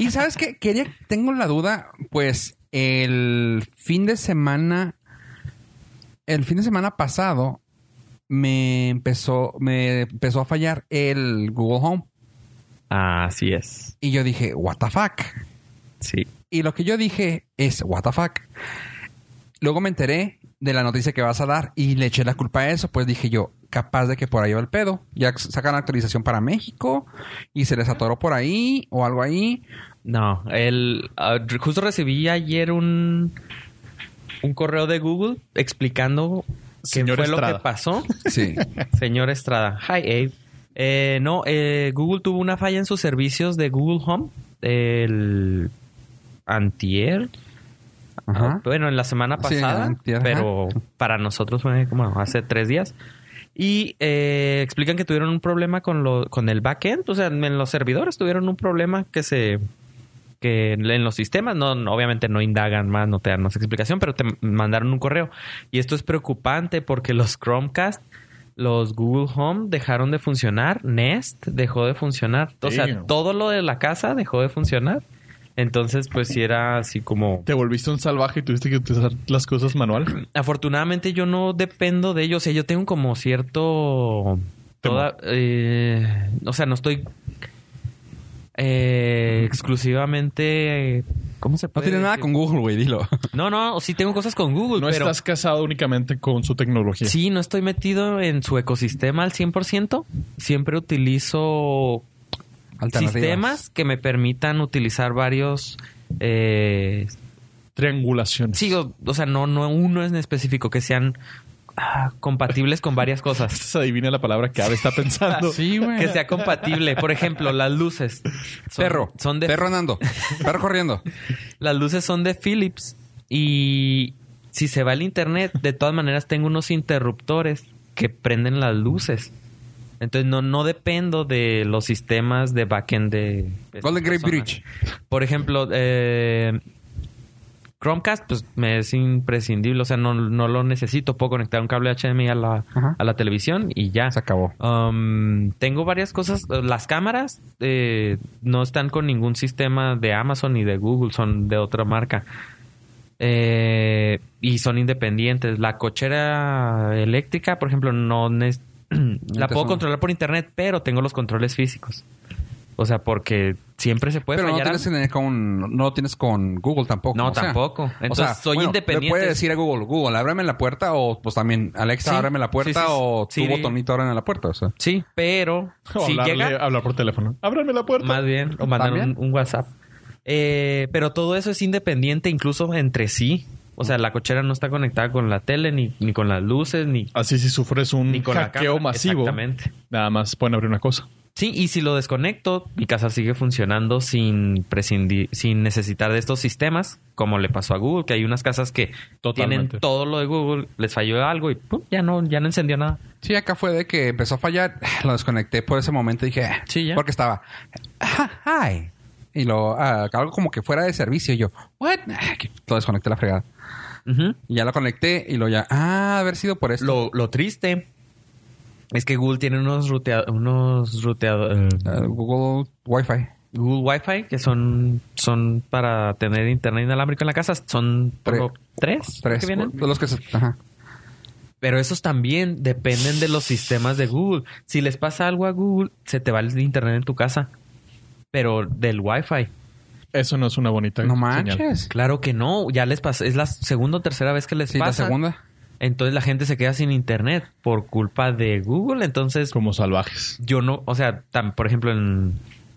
Y sabes qué? Quería, tengo la duda, pues el fin de semana, el fin de semana pasado, me empezó, me empezó a fallar el Google Home. Así es. Y yo dije, what the fuck. Sí. Y lo que yo dije es, what the fuck. Luego me enteré de la noticia que vas a dar y le eché la culpa a eso. Pues dije yo, capaz de que por ahí va el pedo. Ya sacan actualización para México y se les atoró por ahí o algo ahí. No, el ah, re- justo recibí ayer un un correo de Google explicando qué Señor fue lo Estrada. que pasó. Sí. Señor Estrada. Hi, Abe. Eh, no, eh, Google tuvo una falla en sus servicios de Google Home. El antier. Ajá. Bueno, en la semana Sí, pasada. antier, ajá. pero para nosotros fue como hace tres días. Y eh, explican que tuvieron un problema con, lo, con el backend. O sea, en los servidores tuvieron un problema que se... Que en en los sistemas, no, no, obviamente no indagan más, no te dan más explicación, pero te mandaron un correo. Y esto es preocupante porque los Chromecast los Google Home dejaron de funcionar, Nest dejó de funcionar, o sea, Damn. todo lo de la casa dejó de funcionar. Entonces, pues sí era así como... Te volviste un salvaje y tuviste que utilizar las cosas manual. Afortunadamente yo no dependo de ellos, o sea, yo tengo como cierto... Toda, eh, o sea, no estoy eh, exclusivamente... ¿Cómo se No puede tiene nada decir? con Google, güey, dilo. No, no, sí tengo cosas con Google, No pero... estás casado únicamente con su tecnología. Sí, no estoy metido en su ecosistema al 100%. Siempre utilizo Alternativas. sistemas que me permitan utilizar varios eh, triangulaciones. Sí, o, o sea, no, no uno en específico, que sean ah, compatibles con varias cosas. Se adivina la palabra que Ave está pensando. Sí, güey. Que sea compatible. Por ejemplo, las luces. Son- perro. Son de Perro andando. Perro corriendo. Las luces son de Philips y si se va el internet, de todas maneras tengo unos interruptores que prenden las luces. Entonces no, no dependo de los sistemas de backend de... de Golden Gate personas. Bridge. Por ejemplo, eh, Chromecast pues me es imprescindible, o sea, no, no lo necesito, puedo conectar un cable HDMI a la, Ajá. a la televisión y ya. Se acabó. Um, tengo varias cosas. Las cámaras eh, no están con ningún sistema de Amazon ni de Google, son de otra marca. Eh, y son independientes. La cochera eléctrica, por ejemplo, no nes- la puedo son- controlar por internet, pero tengo los controles físicos. O sea, porque siempre se puede Pero no fallar. tienes, en- con, no tienes con Google tampoco. No, o sea. tampoco. Entonces, soy independiente. Le puedes decir a Google, Google, ábreme la puerta o pues también, Alexa, Sí. ábreme la Sí, sí, puerta sí. o tu Sí. botonito ábreme la puerta. O sea. Sí, pero O si hablarle- llega, hablar por teléfono. Ábrame la puerta. Más bien, o mandar un, ¿También? un WhatsApp. Eh, pero todo eso es independiente incluso entre sí. O sea, la cochera no está conectada con la tele, ni, ni con las luces, ni, Así si sufres un ni con la hackeo cámara. masivo, Exactamente. nada más pueden abrir una cosa. Sí, y si lo desconecto, mi casa sigue funcionando sin prescindir, sin necesitar de estos sistemas, como le pasó a Google, que hay unas casas que Totalmente. tienen todo lo de Google, les falló algo y pum, ya no, ya no encendió nada. Sí, acá fue de que empezó a fallar, lo desconecté por ese momento y dije, "Ah", Sí, ya. porque estaba, "Ah, hi. Y lo, ah, algo como que fuera de servicio. Y yo, what? Ah, que Lo desconecté la fregada. Ujú. Y ya lo conecté y lo ya, ah, haber sido por esto. Lo, lo triste es que Google tiene unos ruteadores, unos ruteado- eh, Ah, Google Wi-Fi. Google Wi-Fi, que son, son para tener internet inalámbrico en la casa, son Tre- como tres, creo Tres. que vienen. De los que se, ajá. Pero esos también dependen de los sistemas de Google. Si les pasa algo a Google, se te va el internet en tu casa. Pero del Wi-Fi, Eso no es una bonita No señal. manches. claro que no, ya les pasa, es la segunda o tercera vez que les Sí, la pasa. segunda. Entonces la gente se queda sin internet por culpa de Google. Entonces, Como salvajes. yo no, o sea, tam- por ejemplo, en,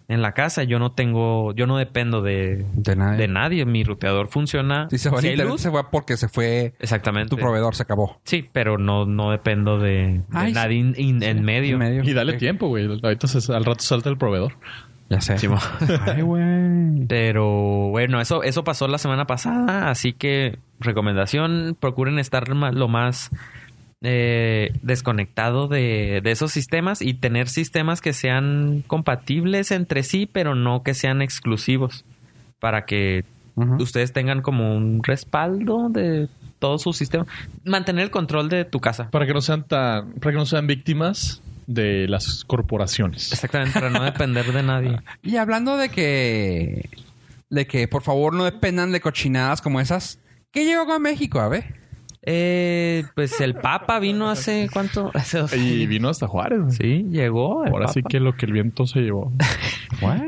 en la casa yo no tengo, yo no dependo de, De nada. de nadie. Mi ruteador funciona. Si Ah, eh. se fue el Si hay internet, luz, se fue porque se fue Exactamente. tu proveedor, se acabó. Sí, pero no, no dependo de, de Ay, sí. nadie in- in- en medio. En medio. Y dale Sí. tiempo, güey. Ahorita se- al rato salta el proveedor. Ya sé. Simón. Ay, güey. Pero bueno, eso, eso pasó la semana pasada, así que recomendación, procuren estar ma- lo más eh, desconectado de, de esos sistemas y tener sistemas que sean compatibles entre sí, pero no que sean exclusivos, para que Ujú. ustedes tengan como un respaldo de todos sus sistemas. Mantener el control de tu casa. Para que no sean tan, para que no sean víctimas de las corporaciones. Exactamente, para no depender de nadie. Y hablando de que. De que por favor no dependan de cochinadas como esas. ¿Qué llegó a México, a ver? Eh, pues el Papa vino hace cuánto? Hace dos Y años. vino hasta Juárez. güey. Sí, llegó. el Ahora sí Papa. que lo que el viento se llevó.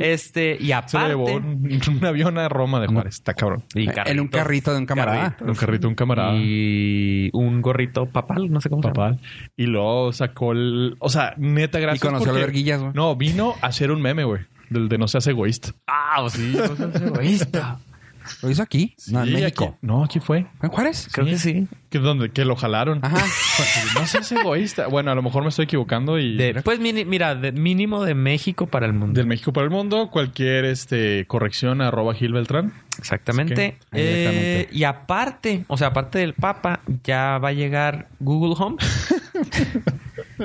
Este, y Se aparte. llevó un, un avión a Roma de Juárez. Está cabrón. y en un carrito de un camarada. Un carrito, un camarada. Pues Y un gorrito papal, no sé cómo se llama. Papal. Y luego sacó el. O sea, neta, gracias. Y conoció a porque- Verguillas, güey. No, vino a hacer un meme, güey. Del de no seas egoísta. Ah, o sí, no seas egoísta. Lo hizo aquí. no, en Sí, México. aquí- no, aquí fue. ¿Fue ¿En Juárez? Creo que sí. Que, donde, que lo jalaron. Ajá. No seas egoísta. Bueno, a lo mejor me estoy equivocando y. De- pues mini- mira, de- mínimo de México para el mundo. Del México para el mundo, cualquier este corrección arroba Gil Beltrán. Exactamente. Sí, directamente. Eh, y aparte, o sea, aparte del Papa, ya va a llegar Google Home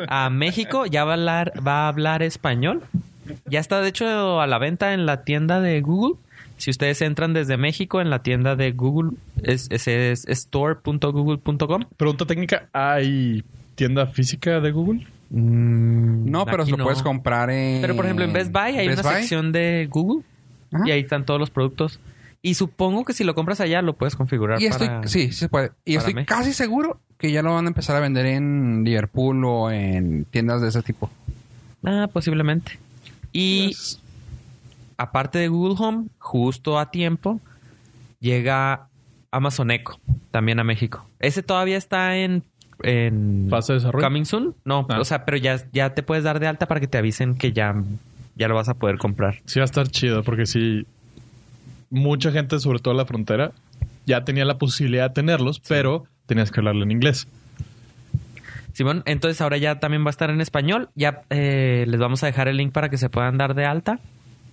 a México, ya va a hablar, va a hablar español. Ya está, de hecho, a la venta en la tienda de Google. Si ustedes entran desde México en la tienda de Google, es, es- es store.google.com. Pregunta técnica, ¿hay tienda física de Google? No, pero Mm, Aquí lo no. puedes comprar en. Pero por ejemplo, en Best Buy hay Best una Buy. sección de Google Ajá. y ahí están todos los productos. Y supongo que si lo compras allá lo puedes configurar Y estoy. para- Sí, sí se puede. Y para estoy México. casi seguro que ya lo van a empezar a vender en Liverpool o en tiendas de ese tipo. Ah, posiblemente. Y Yes. aparte de Google Home, justo a tiempo, llega Amazon Echo también a México. Ese todavía está en... en Fase de desarrollo. Coming soon. No, Ah. o sea, pero ya, ya te puedes dar de alta para que te avisen que ya, ya lo vas a poder comprar. Sí, va a estar chido porque sí. Mucha gente, sobre todo en la frontera, ya tenía la posibilidad de tenerlos, pero tenías que hablarlo en inglés. Simón, entonces ahora ya también va a estar en español. Ya eh, les vamos a dejar el link para que se puedan dar de alta.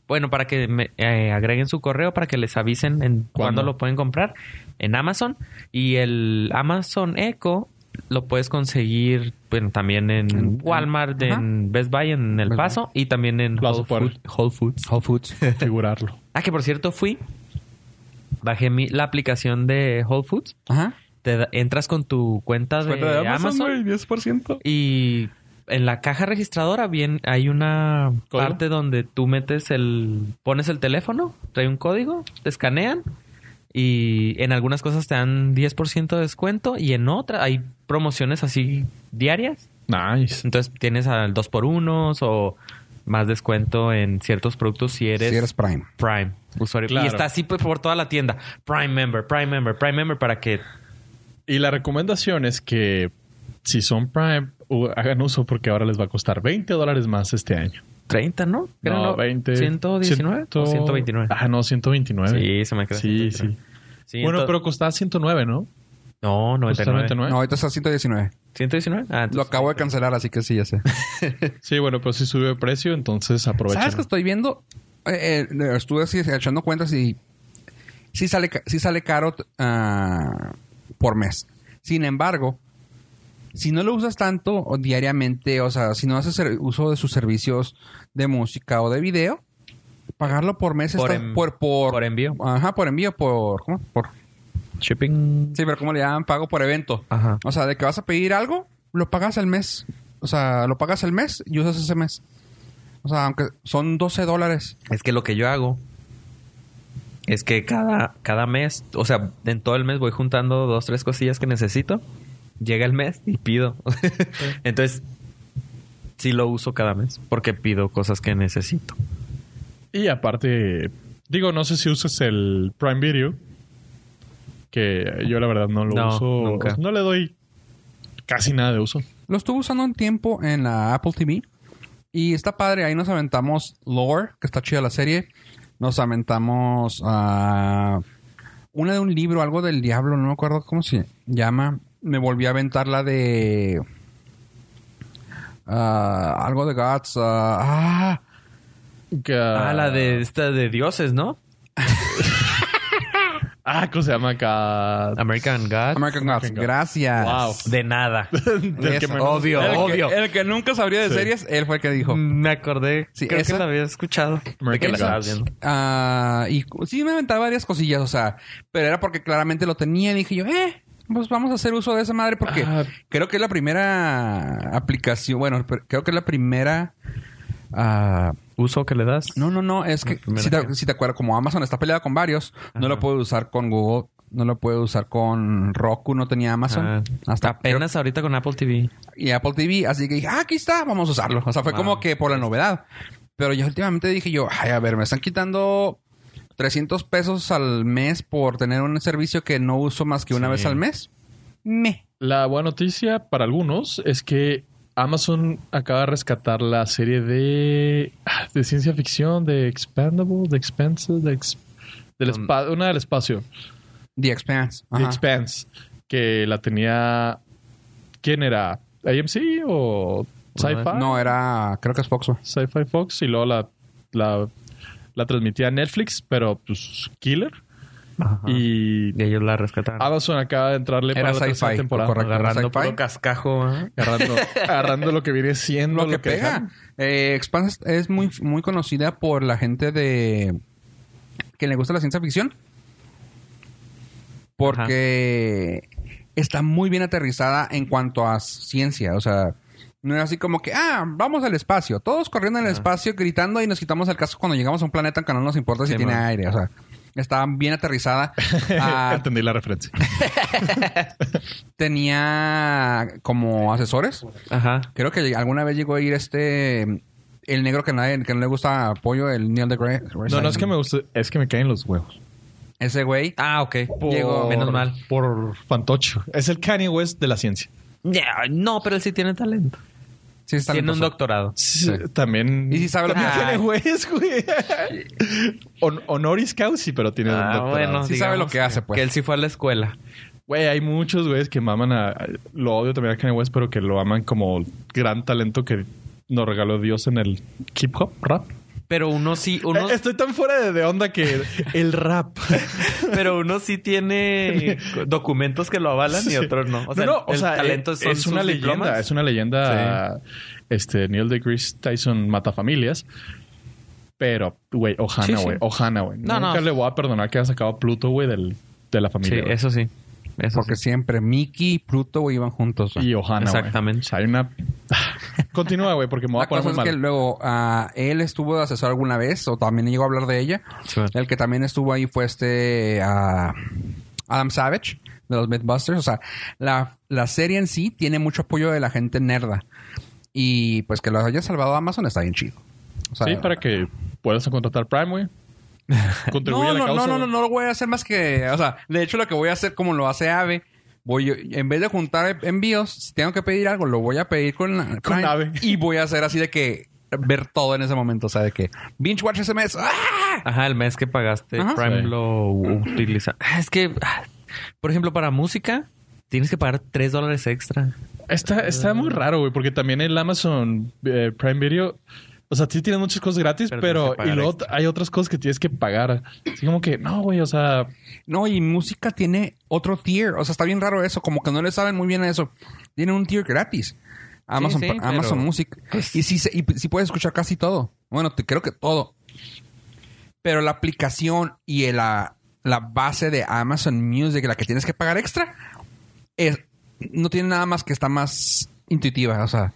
Bueno, para que me, eh, agreguen su correo, para que les avisen en cuándo ¿Cuándo? lo pueden comprar en Amazon. Y el Amazon Echo lo puedes conseguir bueno, también en En- Walmart, ajá. en Best Buy, en El Best Buy. Paso y también en Plaza Whole, Puebla. Food- Whole Foods. Whole Foods. Configurarlo. Ah, que por cierto fui, bajé mi- la aplicación de Whole Foods, Ajá. te da- entras con tu cuenta de, Cuenta de Amazon, Amazon güey, 10%. y en la caja registradora bien hay una ¿Código? parte donde tú metes el pones el teléfono, trae un código, te escanean y en algunas cosas te dan 10% de descuento y en otras hay promociones así diarias. Nice. Entonces tienes al 2x1 o más descuento en ciertos productos si eres, Si eres Prime. Prime usuario. Claro. Y está así pues, por toda la tienda. Prime member, Prime member, Prime member para que Y la recomendación es que si son Prime, u- hagan uso porque ahora les va a costar 20 dólares más este año. 30, ¿no? Creo, no, 20. 119 o 100, 129. Ah, no, 129. Sí, se me queda Sí, 129. sí. Sí, bueno, ento- pero costaba 109, ¿no? No, Costaba 99. 99. No, ahorita está 119. 119. Ah, entonces- Lo acabo de cancelar, así que sí, ya sé. Sí, bueno, pero sí subió de precio, entonces aprovechen. ¿Sabes que estoy viendo? Eh, eh, estuve así echando cuentas y sí sale, ca- sí sale caro t- ah, por mes. Sin embargo, si no lo usas tanto o diariamente, o sea, si no haces ser- uso de sus servicios de música o de video, pagarlo por mes Por está en- por, por, por envío. Ajá, por envío, por, ¿cómo? por Shipping. Sí, pero ¿cómo le llaman? Pago por evento. Ajá. O sea, de que vas a pedir algo, lo pagas al mes. O sea, lo pagas al mes y usas ese mes. O sea, aunque son 12 dólares. Es que lo que yo hago es que cada, cada mes, o sea, en todo el mes voy juntando dos, tres cosillas que necesito. Llega el mes y pido. Entonces, sí lo uso cada mes porque pido cosas que necesito. Y aparte, digo, no sé si usas el Prime Video, que yo la verdad no lo No, uso. nunca. No le doy casi nada de uso. Lo estuve usando un tiempo en la Apple TV. Y está padre. Ahí nos aventamos Lore, que está chida la serie. Nos aventamos ah, una de un libro, algo del diablo. No me acuerdo cómo se llama. Me volví a aventar la de... ah, algo de Gods. ah, ah, Que, Ah, la de esta de dioses, ¿no? Ah, ¿cómo se llama acá? American God. American Gods. Gods. Gracias. Wow. De nada. Del que Eso. menos- Obvio, El que- obvio. Mm. el que nunca sabría de Sí. series, él fue el que dijo. Me acordé. Sí, creo esa- que la había escuchado. De que American la estabas Gods. viendo. Ah, y cu- sí me aventaba varias cosillas, o sea, pero era porque claramente lo tenía y dije yo, eh, pues vamos a hacer uso de esa madre porque Ah. creo que es la primera aplicación, bueno, pero creo que es la primera... ah, Uso que le das. no, no, no, es que primera si te, que- si te acuerdas, como Amazon está peleada con varios, no lo Ajá. puedo usar con Google, no lo puedo usar con Roku, no tenía Amazon. Ah, hasta apenas ahorita con Apple TV. y Apple TV. Así que dije, ah, aquí está, vamos a usarlo. O sea, fue Wow. como que por la novedad. Pero yo últimamente dije yo, ay, a ver, me están quitando 300 pesos al mes por tener un servicio que no uso más que una Sí. vez al mes. Me. La buena noticia para algunos es que Amazon acaba de rescatar la serie de, ah, de ciencia ficción de Expandable, de Expenses, de Ex- del Mm. espa- una del espacio, The Expanse. The Ajá. Expanse, que la tenía. ¿Quién era? ¿AMC o Sci-Fi? No, era, creo que es Fox. güey. Sci-Fi Fox y luego la, la, la transmitía Netflix, pero pues killer. Y, Y y ellos la rescataron. Amazon acaba de entrarle Era para la sci-fi, tercera temporada. correcto. agarrando Sci-fi. puro cascajo. ¿eh? Agarrando, agarrando lo que viene siendo Lo que dejaron. pega. Eh, Expanse es muy, muy conocida por la gente de... que le gusta la ciencia ficción. Porque está muy bien aterrizada en cuanto a ciencia. O sea, no es así como que, ah, vamos al espacio. Todos corriendo en el espacio, gritando y nos quitamos el casco cuando llegamos a un planeta que no nos importa si Sí, tiene man. aire. O sea, está bien aterrizada. Ah, Entendí la referencia. tenía como asesores. Ajá. Creo que alguna vez llegó a ir este. El negro que, nadie, que no le gusta apoyo, el Neil deGrasse. No, no es que me guste, es que me caen los huevos. Ese güey. Ah, ok. Por- Llegó. Menos mal. Por fantocho. Es el Kanye West de la ciencia. Ya, No, pero él sí tiene talento. Sí, está Tiene un talentoso. doctorado. Sí, También. Y sí sabe lo que también hace. tiene juez, güey. Hon- honoris causa, pero tiene un Ah, doctorado. bueno, Sí sabe digamos lo que hace, pues. Que él sí fue a la escuela. Güey, hay muchos güeyes que maman a. Lo odio también a Kanye West, pero que lo aman como gran talento que nos regaló Dios en el hip hop, rap. Pero uno sí, uno, Eh, Estoy tan fuera de, de onda que el rap. pero uno sí tiene documentos que lo avalan y otros no. O sea, el, sea, talento es, son es una sus leyenda. diplomas. Es una leyenda. Este, Neil deGrasse Tyson mata familias. Pero, güey, Sí, Ohana, sí. güey. Ojana, güey. No, Nunca no. le voy a perdonar que haya sacado a Pluto, güey, del- de la Sí, familia. güey. eso sí. Eso Porque sí. siempre Mickey, Pluto, güey, iban juntos. güey. Y Ohana, güey. Exactamente. O sea, hay una... Continúa, güey, porque me voy La a poner cosa muy es mal. que luego ah, él estuvo de asesor alguna vez, o también llegó a hablar de ella. Sí. El que también estuvo ahí fue este ah, Adam Savage de los Mythbusters. O sea, la, la serie en sí tiene mucho apoyo de la gente nerda. Y pues que lo haya salvado Amazon está bien chido. O sea, Sí, para que puedas contratar Prime, güey. Contribuye no, a la no, causa. no, no, no, güey. no lo voy a hacer más que, o sea, de hecho lo que voy a hacer como lo hace Ave, voy en vez de juntar envíos, si tengo que pedir algo, lo voy a pedir con, la- Con Ave. y voy a hacer así de que ver todo en ese momento, o sea, de que binge watch ese mes. ¡Ah! Ajá, el mes que pagaste Ajá. Prime Sí. lo utiliza. Ah, Es que, ah, por ejemplo, para música tienes que pagar 3 dólares extra. Está, está Ah. muy raro, güey, porque también el Amazon eh, Prime Video... O sea, sí tienen muchas cosas gratis, Pero tienes pero... que pagar y luego hay otras cosas que tienes que pagar. Así como que, no, güey, o sea... No, y música tiene otro tier, o sea, está bien raro eso, como que no le saben muy bien a eso. Tiene un tier gratis. Amazon, sí, Pri- Amazon pero- Music. Y sí, se- y sí puedes escuchar casi todo. Bueno, te, creo que todo. Pero la aplicación y el- la, la base de Amazon Music, la que tienes que pagar extra, es- no tiene nada más que está más intuitiva. O sea,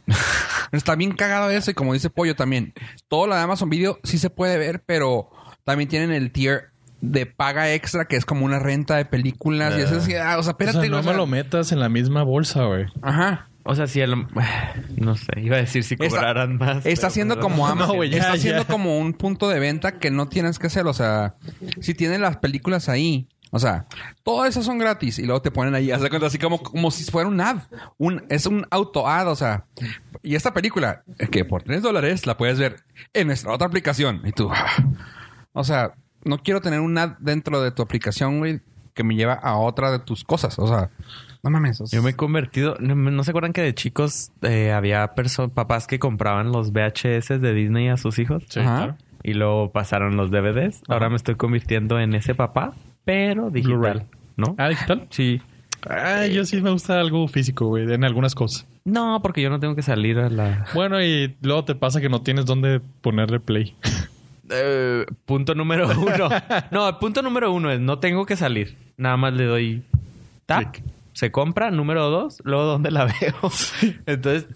está bien cagado eso. Y como dice Pollo también, todo lo de Amazon Video sí se puede ver, pero también tienen el tier de paga extra, que es como una renta de películas. Y eso es, ah, o sea, espérate. o sea, no o sea, me lo metas en la misma bolsa, güey. Ajá. O sea, si el... No sé, iba a decir si Está- cobraran más. Está pero- haciendo pero- como No, Amazon. güey, ya, está ya. haciendo como un punto de venta que no tienes que hacer. O sea, si tienes las películas ahí, o sea, todas esas son gratis y luego te ponen ahí. Haz de cuenta así como, como si fuera un ad. Un, es un auto ad, o sea. Y esta película, que por 3 dólares la puedes ver en nuestra otra aplicación. Y tú, ah. o sea, no quiero tener un ad dentro de tu aplicación, güey, que me lleva a otra de tus cosas. O sea, no mames. o sea, Yo me he convertido... ¿No, no se acuerdan que de chicos eh, había perso- papás que compraban los VHS de Disney a sus hijos? Sí, Ajá. claro. Y luego pasaron los DVDs. Ahora me estoy convirtiendo en ese papá, pero digital. Blu-ray. ¿No? Ah, digital. Sí. Ah, yo sí me gusta algo físico, güey, en algunas cosas. No, porque yo no tengo que salir a la... Bueno, y luego te pasa que no tienes dónde ponerle play. Eh, punto número uno. No, el punto número uno es no tengo que salir. Nada más le doy tap, Clic. se compra. Número dos, luego dónde la veo. Entonces,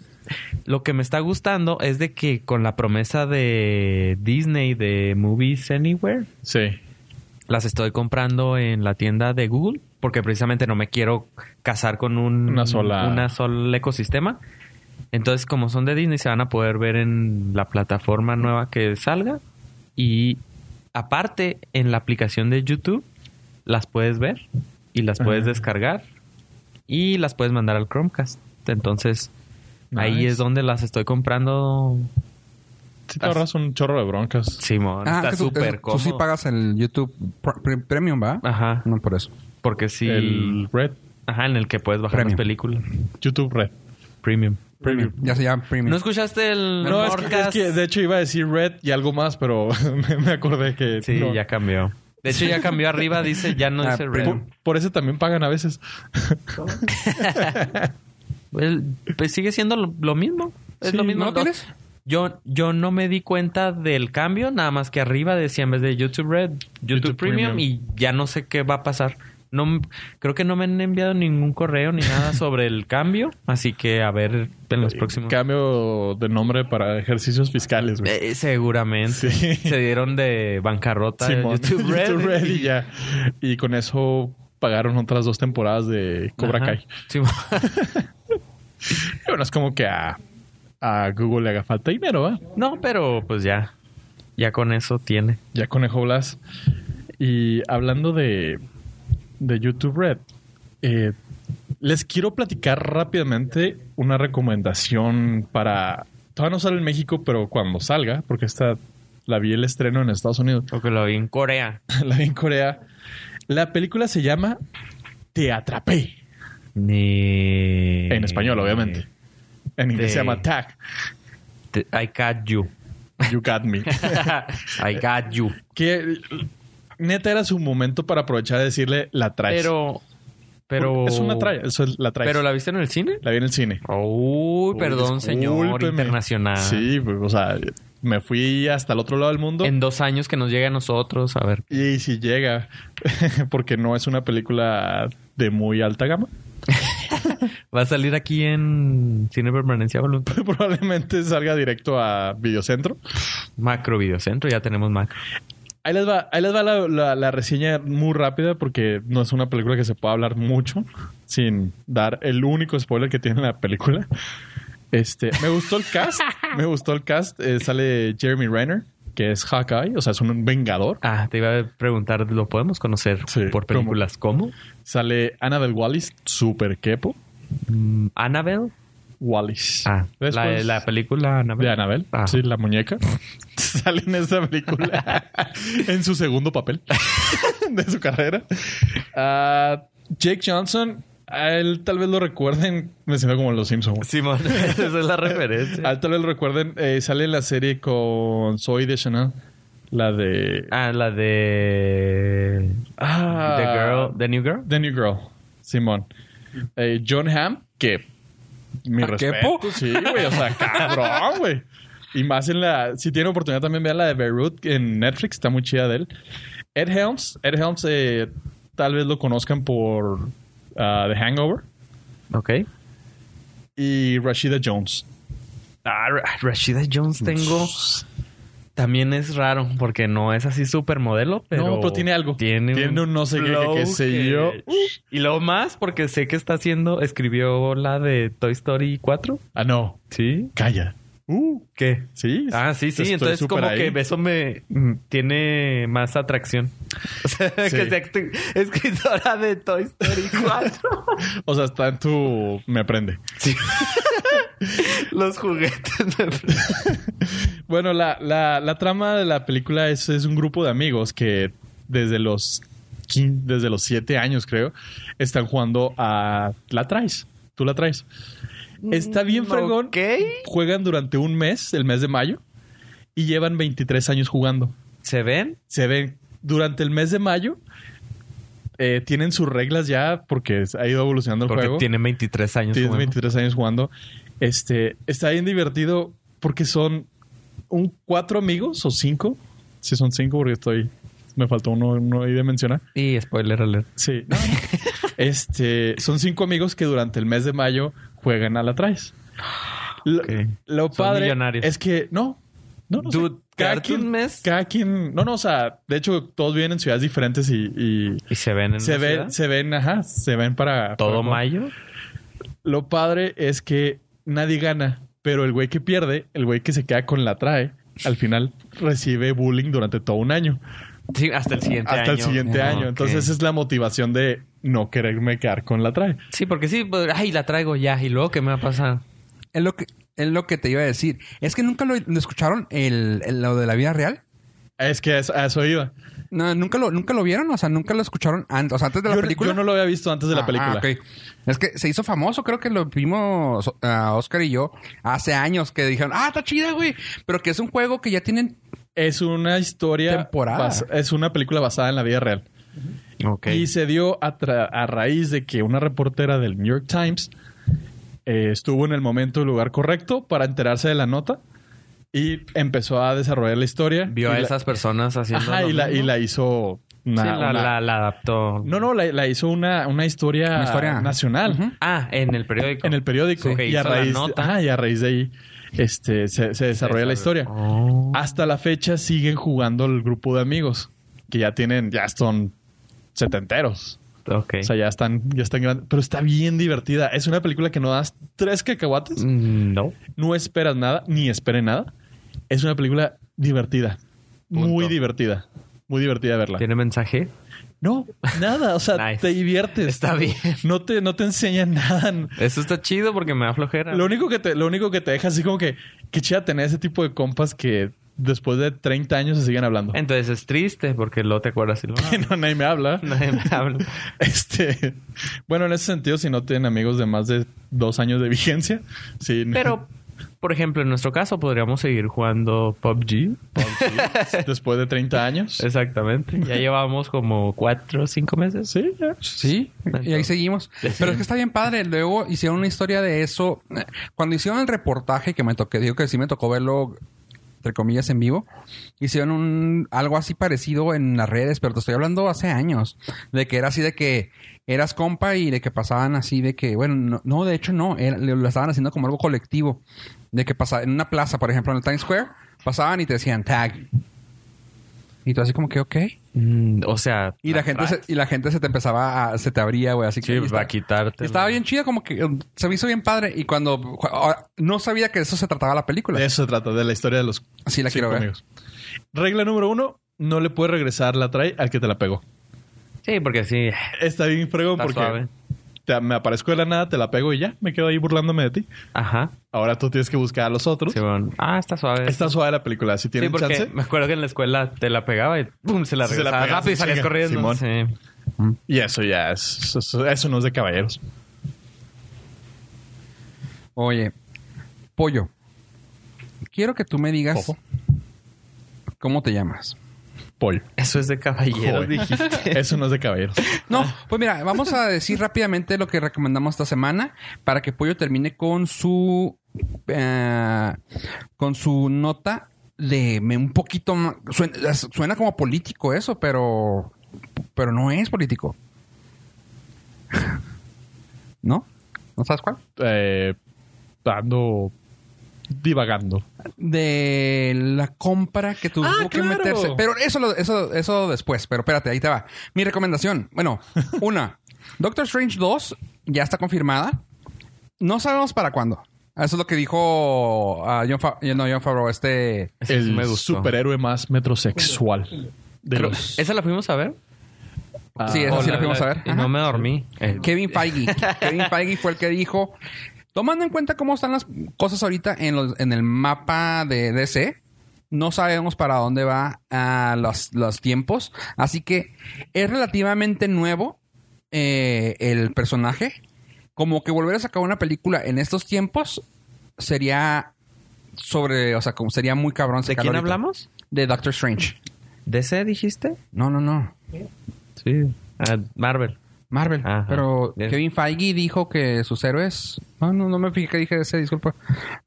lo que me está gustando es de que con la promesa de Disney de Movies Anywhere, Sí. las estoy comprando en la tienda de Google porque precisamente no me quiero casar con un Una sola- una sol ecosistema. Entonces, como son de Disney, se van a poder ver en la plataforma nueva que salga y aparte en la aplicación de YouTube las puedes ver y las puedes Ajá. descargar y las puedes mandar al Chromecast. Entonces, ahí Nice. es donde las estoy comprando. Sí te ahorras un chorro de broncas. Simón, Ah, está que tú- súper tú, tú cómodo. sí pagas el YouTube Pr- Pr- Premium, ¿va? Ajá, No por eso. porque sí. El Red, Ajá, en el que puedes bajar Premium. las películas. YouTube Red. Premium. Premium. Ya se llama Premium. ¿No escuchaste el No, es que, podcast? es que de hecho iba a decir Red y algo más, pero me, me acordé que. Sí, no. ya cambió. De hecho, ya cambió arriba, dice, ya no Ah, dice Red. Por, por eso también pagan a veces. El- pues sigue siendo lo, lo mismo. Es Sí, lo mismo. ¿no lo tienes? Yo, yo no me di cuenta del cambio, nada más que arriba decía en vez de YouTube Red, YouTube, YouTube Premium, Premium. y ya no sé qué va a pasar. No, m- creo que no me han enviado ningún correo ni nada sobre el cambio, así que a ver en Eh, los próximos. Cambio de nombre para ejercicios fiscales, güey. Eh, seguramente. Sí. Se dieron de bancarrota Simón. YouTube Red. y ya. Y con eso pagaron otras dos temporadas de Cobra Ajá. Kai. Simón. Bueno, es como que a, a Google le haga falta dinero, ¿va? No, pero pues ya. Ya con eso tiene. Ya Conejo Blas. Y hablando de, de YouTube Red, eh, Les quiero platicar rápidamente una recomendación para. Todavía no sale en México, pero cuando salga, porque esta la vi el estreno en Estados Unidos, Porque lo vi en Corea. la vi en Corea. La película se llama Te atrapé. Ni... En español, obviamente. En inglés se Eh, Sí. llama Tag. Te- I got you. You got me. I got you. que neta era su momento para aprovechar de decirle la traes. Pero. Pero. es una trae, eso es- la traes. ¿Pero la viste en el cine? la vi en el cine. Uy, perdón, señor Discúlpeme. internacional. Sí, pues, o sea, me fui hasta el otro lado del mundo. En dos años que nos llegue a nosotros, a ver. Y si llega, porque no es una película de muy alta gama, Va a salir aquí en Cine Permanencia Voluntaria. probablemente salga directo a Videocentro. Macro Videocentro, ya tenemos macro. Ahí les va, ahí les va la, la- la reseña muy rápida porque no es una película que se pueda hablar mucho sin dar el único spoiler que tiene la película. Este, me gustó el cast, me gustó el cast. Eh, sale Jeremy Renner, que es Hawkeye, o sea, es un vengador. Ah, te iba a preguntar, ¿lo podemos conocer Sí, por películas como? Sale Annabelle Wallis, super kepo. Mm, Annabelle. Wallis. Ah, la, Después- la película Annabelle. De Anabel, Ah. sí, la muñeca. Sale en esa película en su segundo papel de su carrera. Ah, Jake Johnson, a él tal vez lo recuerden, me siento como en los Simpsons. Simón, esa es la A referencia. él tal vez lo recuerden, eh, sale en la serie con Zoe de Chanel, la de Ah, la de... Ah. the Girl, The New Girl. The New Girl, Simón. Eh, John Hamm, que mi ¿A respeto. quepo? Sí, güey, o sea, cabrón, güey. Y más en la. Si tienen oportunidad también, vean la de Beirut en Netflix, está muy chida de él. Ed Helms, Ed Helms, eh, tal vez lo conozcan por ah, The Hangover. Ok. Y Rashida Jones. Ah, Ra- Rashida Jones tengo... También es raro porque no es así súper modelo, pero... No, pero tiene algo. Tiene, Tiene un no sé qué, flow que- que sé que- yo. Y luego más porque sé que está haciendo... Escribió la de Toy Story 4. Ah, no. Sí. Calla. Uh, ¿Qué? sí. Ah, sí, sí. estoy Entonces, súper como ahí. que eso me mm, tiene más atracción. O sea, Sí. que sea actu- escritora de Toy Story 4. O sea, está en tu. Me prende. Los juguetes. de- Bueno, la, la- la trama de la película es, es un grupo de amigos que desde los quin- desde los siete años, creo, están jugando a la traes. Tú la traes. Está bien fregón. Ok. Juegan durante un mes, el mes de mayo, y llevan 23 años jugando. ¿Se ven? Se ven durante el mes de mayo. eh, tienen sus reglas ya porque ha ido evolucionando el Porque juego. tienen 23 años. Tienes jugando. 23 años jugando. Este, está bien divertido porque son un cuatro amigos o cinco. Si son cinco, porque estoy. Me faltó uno, uno ahí de mencionar. Y spoiler alert. Sí. no, no. este, son cinco amigos que durante el mes de mayo juegan a la traes. Lo, Ok. lo Son padre millonarios. es que no. No, no sé. Dude, cada ¿cartoon quien, mes? cada quien, no, no, o sea, de hecho, todos vienen en ciudades diferentes y, y ¿Y se ven en se una ven, ciudad? se ven, ajá, se ven para todo mayo mayo? lo padre es que nadie gana, pero el güey que pierde, el güey que se queda con la trae, al final recibe bullying durante todo un año, Sí, hasta el siguiente año. hasta el siguiente Ah, año. ok. Entonces es la motivación de no quererme quedar con la trae. Sí, porque sí, pues, ay, la traigo ya. ¿Y luego qué me va a pasar? Es lo que, es lo que te iba a decir. Es que nunca lo, ¿lo escucharon el, el- lo de la vida real. Es que a eso, a eso iba. No, nunca lo, nunca lo vieron, o sea, nunca lo escucharon antes, o sea, antes de la Yo, película. yo no lo había visto antes de Ah, la película. ah, ok. Es que se hizo famoso, creo que lo vimos ah, Oscar y yo hace años que dijeron, ah, está chida, güey. Pero que es un juego que ya tienen. Es una historia. Temporada. bas- Es una película basada en la vida real. Ok. Y se dio a, tra- a raíz de que una reportera del New York Times eh, estuvo en el momento y lugar correcto para enterarse de la nota y empezó a desarrollar la historia. Vio Y a la- esas personas haciendo. Ajá, lo y la, y mismo. la hizo. una- Sí, la, una- la- la adaptó. No, no, la, la hizo una, una historia, Una historia. nacional Ujú. Ah, en el periódico. en el periódico. Sí, que y, a hizo la raíz, nota. ajá, y a raíz de ahí este, se, se desarrolla la historia. Oh. Hasta la fecha siguen jugando el grupo de amigos que ya tienen, ya son setenteros. Ok. O sea, ya están, ya están grandes. Pero está bien divertida. Es una película que no das tres cacahuates, Mm, no. no esperas nada, ni esperes nada. Es una película divertida. Punto. Muy divertida. Muy divertida verla. ¿Tiene mensaje? No, nada. O sea, Nice. te diviertes. Está bien. No te, no te enseñan nada. Eso está chido porque me da flojera. Lo único que te, lo único que te deja así como que, qué chida tener ese tipo de compas que después de 30 años se siguen hablando. Entonces es triste porque luego te acuerdas y lo Que no, nadie me habla. nadie me habla. Este, bueno, en ese sentido, si no tienen amigos de más de dos años de vigencia, sí. Pero, por ejemplo, en nuestro caso podríamos seguir jugando PUBG. después de 30 años. Exactamente. Ya llevamos como cuatro o cinco meses. Sí, ya. Sí, y ahí seguimos. Pero es que está bien padre. Luego hicieron una historia de eso. Cuando hicieron el reportaje que me toqué, digo que sí me tocó verlo entre comillas en vivo, hicieron un algo así parecido en las redes, pero te estoy hablando hace años, de que era así de que eras compa y de que pasaban así de que, bueno, no, no, de hecho no, era- lo estaban haciendo como algo colectivo, de que pasaba en una plaza, por ejemplo, en el Times Square, pasaban y te decían tag. Y tú así como que, ok. Mm, o sea... Y la gente se, y la gente se te empezaba a, se te abría, güey, así que Sí, pues, y va a está- quitarte. Estaba bien chida, como que um, se me hizo bien padre. Y cuando ju- ahora, no sabía que de eso se trataba la película. De eso se trata, de la historia de los Sí, la quiero ver. Regla número uno, no le puedes regresar la trae al que te la pegó. Sí, porque sí. Está bien fregón Está porque suave. te- me aparezco de la nada, te la pego y ya, me quedo ahí burlándome de ti. Ajá. Ahora tú tienes que buscar a los otros. Sí, bueno. Ah, está suave. Está suave la película, si Sí, tienes porque chance. me acuerdo que en la escuela te la pegaba y pum, se la Sí, se la regresaba pegabas rápido y en salías chinga. corriendo. Simón. Sí. Y eso ya es, eso, eso no es de caballeros. Oye, pollo. Quiero que tú me digas Ojo. cómo te llamas. Pollo. Eso es de caballero, Joder. dijiste. Eso no es de caballeros. No, pues mira, vamos a decir rápidamente lo que recomendamos esta semana para que Pollo termine con su eh, con su nota de me- un poquito ma- suena, suena como político eso, pero pero no es político. ¿No? ¿No sabes cuál? Eh, ando divagando. de la compra que tuvo Ah, que claro. meterse. Pero eso, lo- eso, eso después. Pero espérate, ahí te va. Mi recomendación. Bueno, una. Doctor Strange 2 ya está confirmada. No sabemos para cuándo. Eso es lo que dijo ah, John, Fa- no, John Favreau. Este... Eso sí me El gustó. superhéroe más metrosexual. De Creo- los- Ah, ¿Esa la fuimos a ver? sí, esa O sí la fuimos a ver. y Ajá. no me dormí. Eh, Kevin Feige. Kevin Feige fue el que dijo, tomando en cuenta cómo están las cosas ahorita en, los- en el mapa de DC, no sabemos para dónde va ah, los, los tiempos. Así que es relativamente nuevo eh, el personaje. Como que volver a sacar una película en estos tiempos sería sobre, o sea, como sería muy cabrón. ¿De sacarlo quién ahorita. hablamos? De Doctor Strange. ¿DC dijiste? No, no, no. Sí. Ah, Marvel. Marvel. Ajá. Pero Bien. Kevin Feige dijo que sus héroes. No, no, no me fijé que dije ese, disculpa.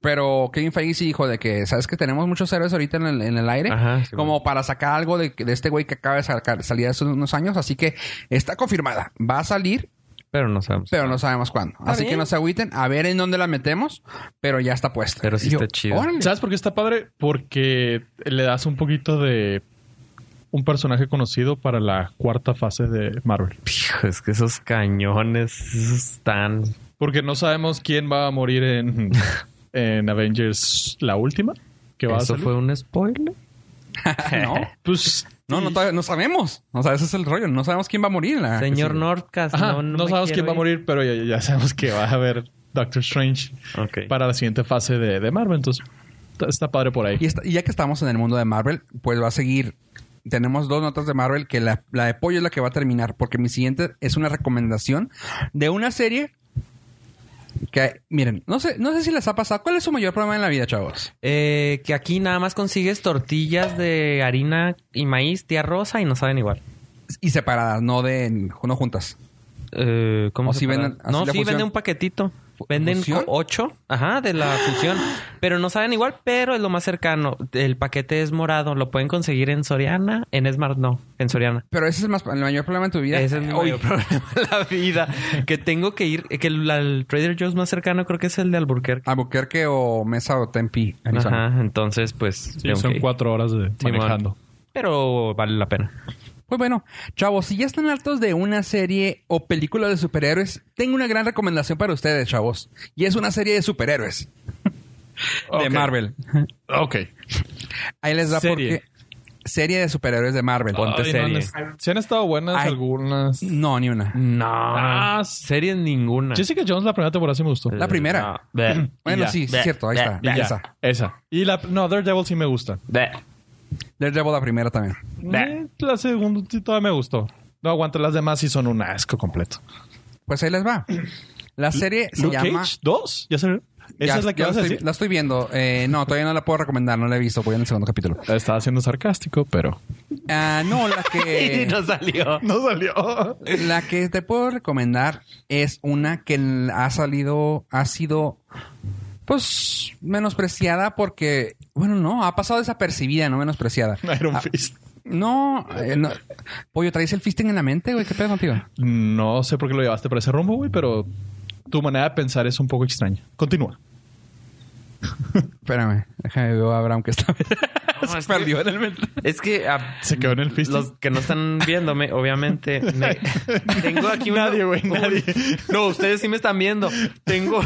Pero Kevin Feige sí dijo de que, ¿sabes que tenemos muchos héroes ahorita en el, en el aire? Ajá, sí, como para sacar algo de, de este güey que acaba de sacar- salir hace unos años. Así que está confirmada. Va a salir, Pero no sabemos. pero no sabemos cuándo. Así que bien. no se agüiten. A ver en dónde la metemos, pero ya está puesta. Pero sí Y yo, está chido. "Órale". ¿Sabes por qué está padre? Porque le das un poquito de un personaje conocido para la cuarta fase de Marvel. Hijo, es que esos cañones esos están... Porque no sabemos quién va a morir en, en Avengers la última. Que va a ¿Eso salir. fue un spoiler? no, Pues, no, no, todavía no sabemos. O sea, ese es el rollo. No sabemos quién va a morir. en la- Señor que sigue. Nordcast, Ah, ajá, no, no, no me sabemos quién quiero va a ir. morir, pero ya, ya sabemos que va a haber Doctor Strange Ok. para la siguiente fase de, de Marvel. Entonces, está- está padre por ahí. Y, esta- y ya que estamos en el mundo de Marvel, pues va a seguir. Tenemos dos notas de Marvel que la, la de Pollo es la que va a terminar, porque mi siguiente es una recomendación de una serie que, miren, no sé, no sé si les ha pasado. ¿Cuál es su mayor problema en la vida, chavos? Eh, que aquí nada más consigues tortillas de harina y maíz, tía rosa, y no saben igual. Y separadas, no de no juntas. Eh, ¿Cómo O se si para- venden- así No, la sí fusión. venden un paquetito. ¿Fu- Venden fusión? co- ocho, ajá, de la fusión. Pero no saben igual, pero es lo más cercano. El paquete es morado. Lo pueden conseguir en Soriana, en Smart no, en Soriana. Pero ese es el, más, el mayor problema en tu vida. Ese es mi Hoy. mayor problema de la vida. Que tengo que ir, que el, la- el Trader Joe's más cercano creo que es el de Albuquerque. Albuquerque o Mesa o Tempi, Arizona. Ajá, entonces pues... Sí, tengo son que ir. cuatro horas de Simón. manejando. Pero vale la pena. Pues bueno, chavos, si ya están hartos de una serie o película de superhéroes, tengo una gran recomendación para ustedes, chavos. Y es una serie de superhéroes. de Ok. Marvel. Ok. Ahí les da Serie. porque... serie de superhéroes de Marvel. Ponte Ay, no, serie. no es- sí han estado buenas Ay. algunas. No, ni una. No. Ah, serie ninguna. Jessica Jones la primera temporada sí me gustó. La primera. No. Bleh. Bueno, ya. sí, sí Bleh. es cierto. Ahí Bleh. está. Y ya, Esa. esa. Y la no, Daredevil sí me gusta. Bleh. Daredevil la primera también. Bleh. Eh, La segunda sí todavía me gustó. No aguanto, las demás sí son un asco completo. Pues ahí les va. La serie se Luke llama... Cage 2, ya se Esa Ya- es la que ya vas a estoy- decir. La estoy viendo. Eh, no, todavía no la puedo recomendar. No la he visto. Voy en el segundo capítulo. Estaba siendo sarcástico, pero Ah, no, la Y que... no salió. no salió. La que te puedo recomendar es una que ha salido, ha sido, pues, menospreciada porque, bueno, no, ha pasado desapercibida, no menospreciada. Iron Fist. No, eh, no. Pollo, ¿traes el fisting en la mente, güey? ¿Qué pedo contigo? No sé por qué lo llevaste para ese rumbo, güey, pero tu manera de pensar es un poco extraña. Continúa. Espérame, déjame ver a Abraham que está... No, es que- en el mente. Es que ah, Se quedó en el fist. los que no están viéndome, obviamente, me- tengo aquí una- Nadie, güey, un- nadie. No, ustedes sí me están viendo. Tengo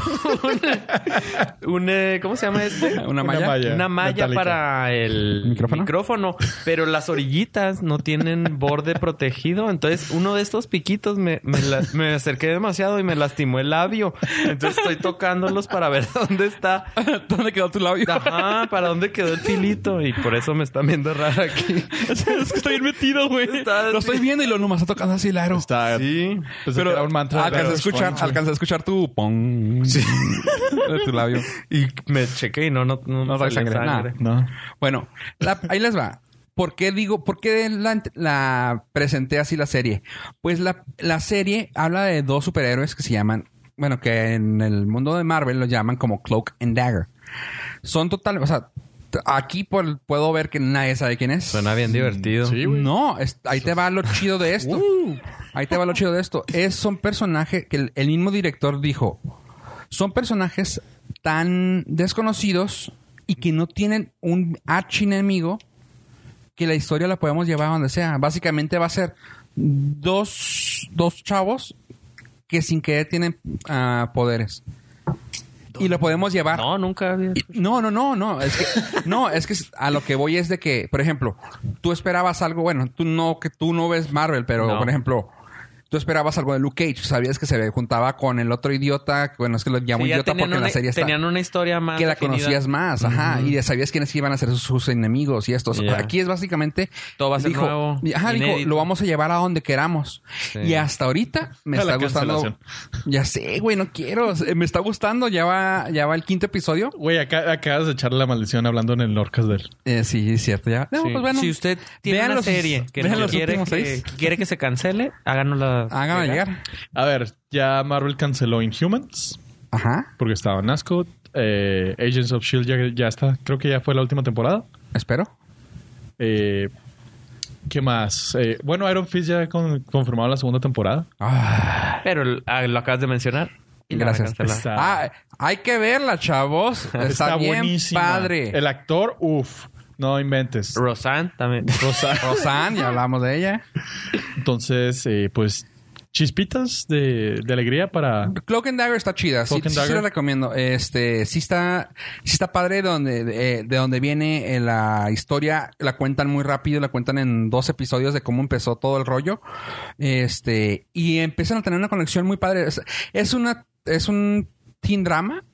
un, un, eh, ¿cómo se llama este? Una malla. Una malla metálica. para el ¿Micrófono? micrófono, pero las orillitas no tienen borde protegido. Entonces, uno de estos piquitos me, me, la- me acerqué demasiado y me lastimó el labio. Entonces, estoy tocándolos para ver dónde está. ¿Dónde quedó tu labio? Ajá, para dónde quedó el filito. Y por eso me están viendo raro aquí. es que estoy bien metido, güey. Está- Lo estoy viendo y lo nomás está tocando así el aro. Está. Sí. Pensé que era un mantra. alcanza a escuchar, alcanza a escuchar tu pong de tu labio. Y me chequé y no, no, no, No trae salió sangre, nada. No. Bueno, la- ahí les va. ¿Por qué digo, por qué la, la presenté así la serie? Pues la, la serie habla de dos superhéroes que se llaman, bueno, que en el mundo de Marvel los llaman como Cloak and Dagger. Son total, o sea, t- aquí por- puedo ver que nadie sabe quién es. Suena bien divertido. Sí, güey. Uh. No, es- ahí te va lo chido de esto. Ahí te va lo chido de esto. Es, son personajes que el, el mismo director dijo, son personajes tan desconocidos y que no tienen un archienemigo que la historia la podemos llevar a donde sea. Básicamente va a ser dos, dos chavos que sin querer tienen ah, poderes. Y lo podemos llevar. Ah, No, nunca había. No, no, no, no. Es que, no, es que a lo que voy es de que, por ejemplo, tú esperabas algo, bueno, tú no, que tú no ves Marvel, pero No. por ejemplo, tú esperabas algo de Luke Cage, sabías que se juntaba con el otro idiota, que, bueno, es que lo llamo Sí, ya idiota tenían porque en la una- serie está. Tenían una historia más. Que la definida. conocías más, ajá, y ya sabías quiénes iban a ser sus, sus enemigos y estos. Ya. Aquí es básicamente. Todo va a ser dijo, nuevo, Ajá, dijo, inédito. lo vamos a llevar a donde queramos. Sí. Y hasta ahorita me A está la gustando. Ya sé, güey, no quiero. Me está gustando. Ya va, ya va el quinto episodio. Güey, acá, acabas de echarle la maldición hablando en el Lorcas del. Eh, sí, es cierto, ya. No, Sí. pues bueno. si usted tiene vean una los- serie que, vean no los quiere, últimos que seis. quiere que se cancele, háganosla. Háganla llegar. A ver, ya Marvel canceló Inhumans Ajá. porque estaba en asco. Eh, Agents of Shield ya, ya está. Creo que ya fue la última temporada. Espero. Eh, ¿Qué más? Eh, bueno, Iron Fist ya con, confirmado la segunda temporada. Ah, Pero ah, lo acabas de mencionar. y la gracias. cancela. Está- Ah, hay que verla, chavos. Está, bien buenísima. padre. El actor, uff, no inventes. Rosanne también. Rosa. Rosan, ya hablamos de ella. Entonces, eh, pues, chispitas de, de alegría para... Cloak and Dagger está chida. Sí, Cloak and sí, sí Dagger. la recomiendo. Este, sí está, sí está padre donde, de, de donde viene eh, la historia. La cuentan muy rápido, la cuentan en dos episodios de cómo empezó todo el rollo. Este, y empiezan a tener una conexión muy padre. Es, es una, es un teen drama,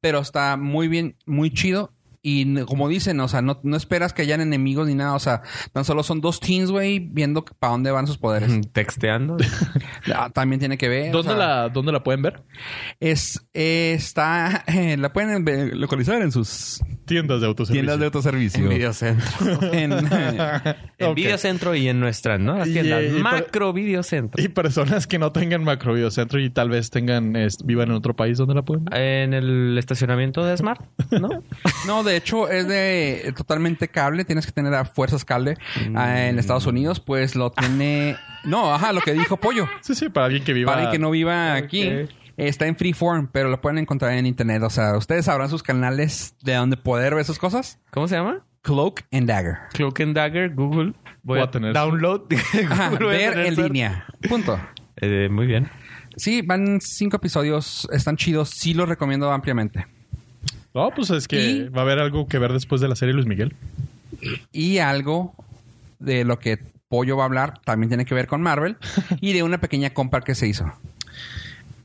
pero está muy bien, muy chido. Y n- como dicen, o sea, no, no esperas que hayan enemigos ni nada. O sea, tan solo son dos teens, güey, viendo para dónde van sus poderes. Texteando. Ah, También tiene que ver. o ¿Dónde, sea- la, ¿Dónde la pueden ver? es eh, está eh, la pueden ve- localizar en sus Tiendas de autoservicio. tiendas de autoservicio. Videocentro. En- eh, En Ok. Videocentro y en nuestras, ¿no? Las Y, tiendas. eh, y para- Macro Videocentro. Y personas que no tengan macrobiocentro y tal vez tengan es- vivan en otro país, ¿dónde la pueden ver? En el estacionamiento de Smart, ¿no? no, de hecho es de eh, totalmente cable, tienes que tener a fuerzas cable Ah, en Estados Unidos, pues lo tiene No, ajá, lo que dijo Pollo. Sí, sí, para alguien que viva... Para el que no viva aquí. Está en Freeform, pero lo pueden encontrar en internet. O sea, ustedes sabrán sus canales de donde poder ver sus cosas. ¿Cómo se llama? Cloak and Dagger. Cloak and Dagger, Google. Voy a tener- Download. Ajá, Google, voy a ver tener en suerte. línea. Punto. Eh, muy bien. Sí, van cinco episodios, están chidos, sí los recomiendo ampliamente. No, pues es que Y- va a haber algo que ver después de la serie Luis Miguel. Y algo de lo que Pollo va a hablar también tiene que ver con Marvel y de una pequeña compra que se hizo.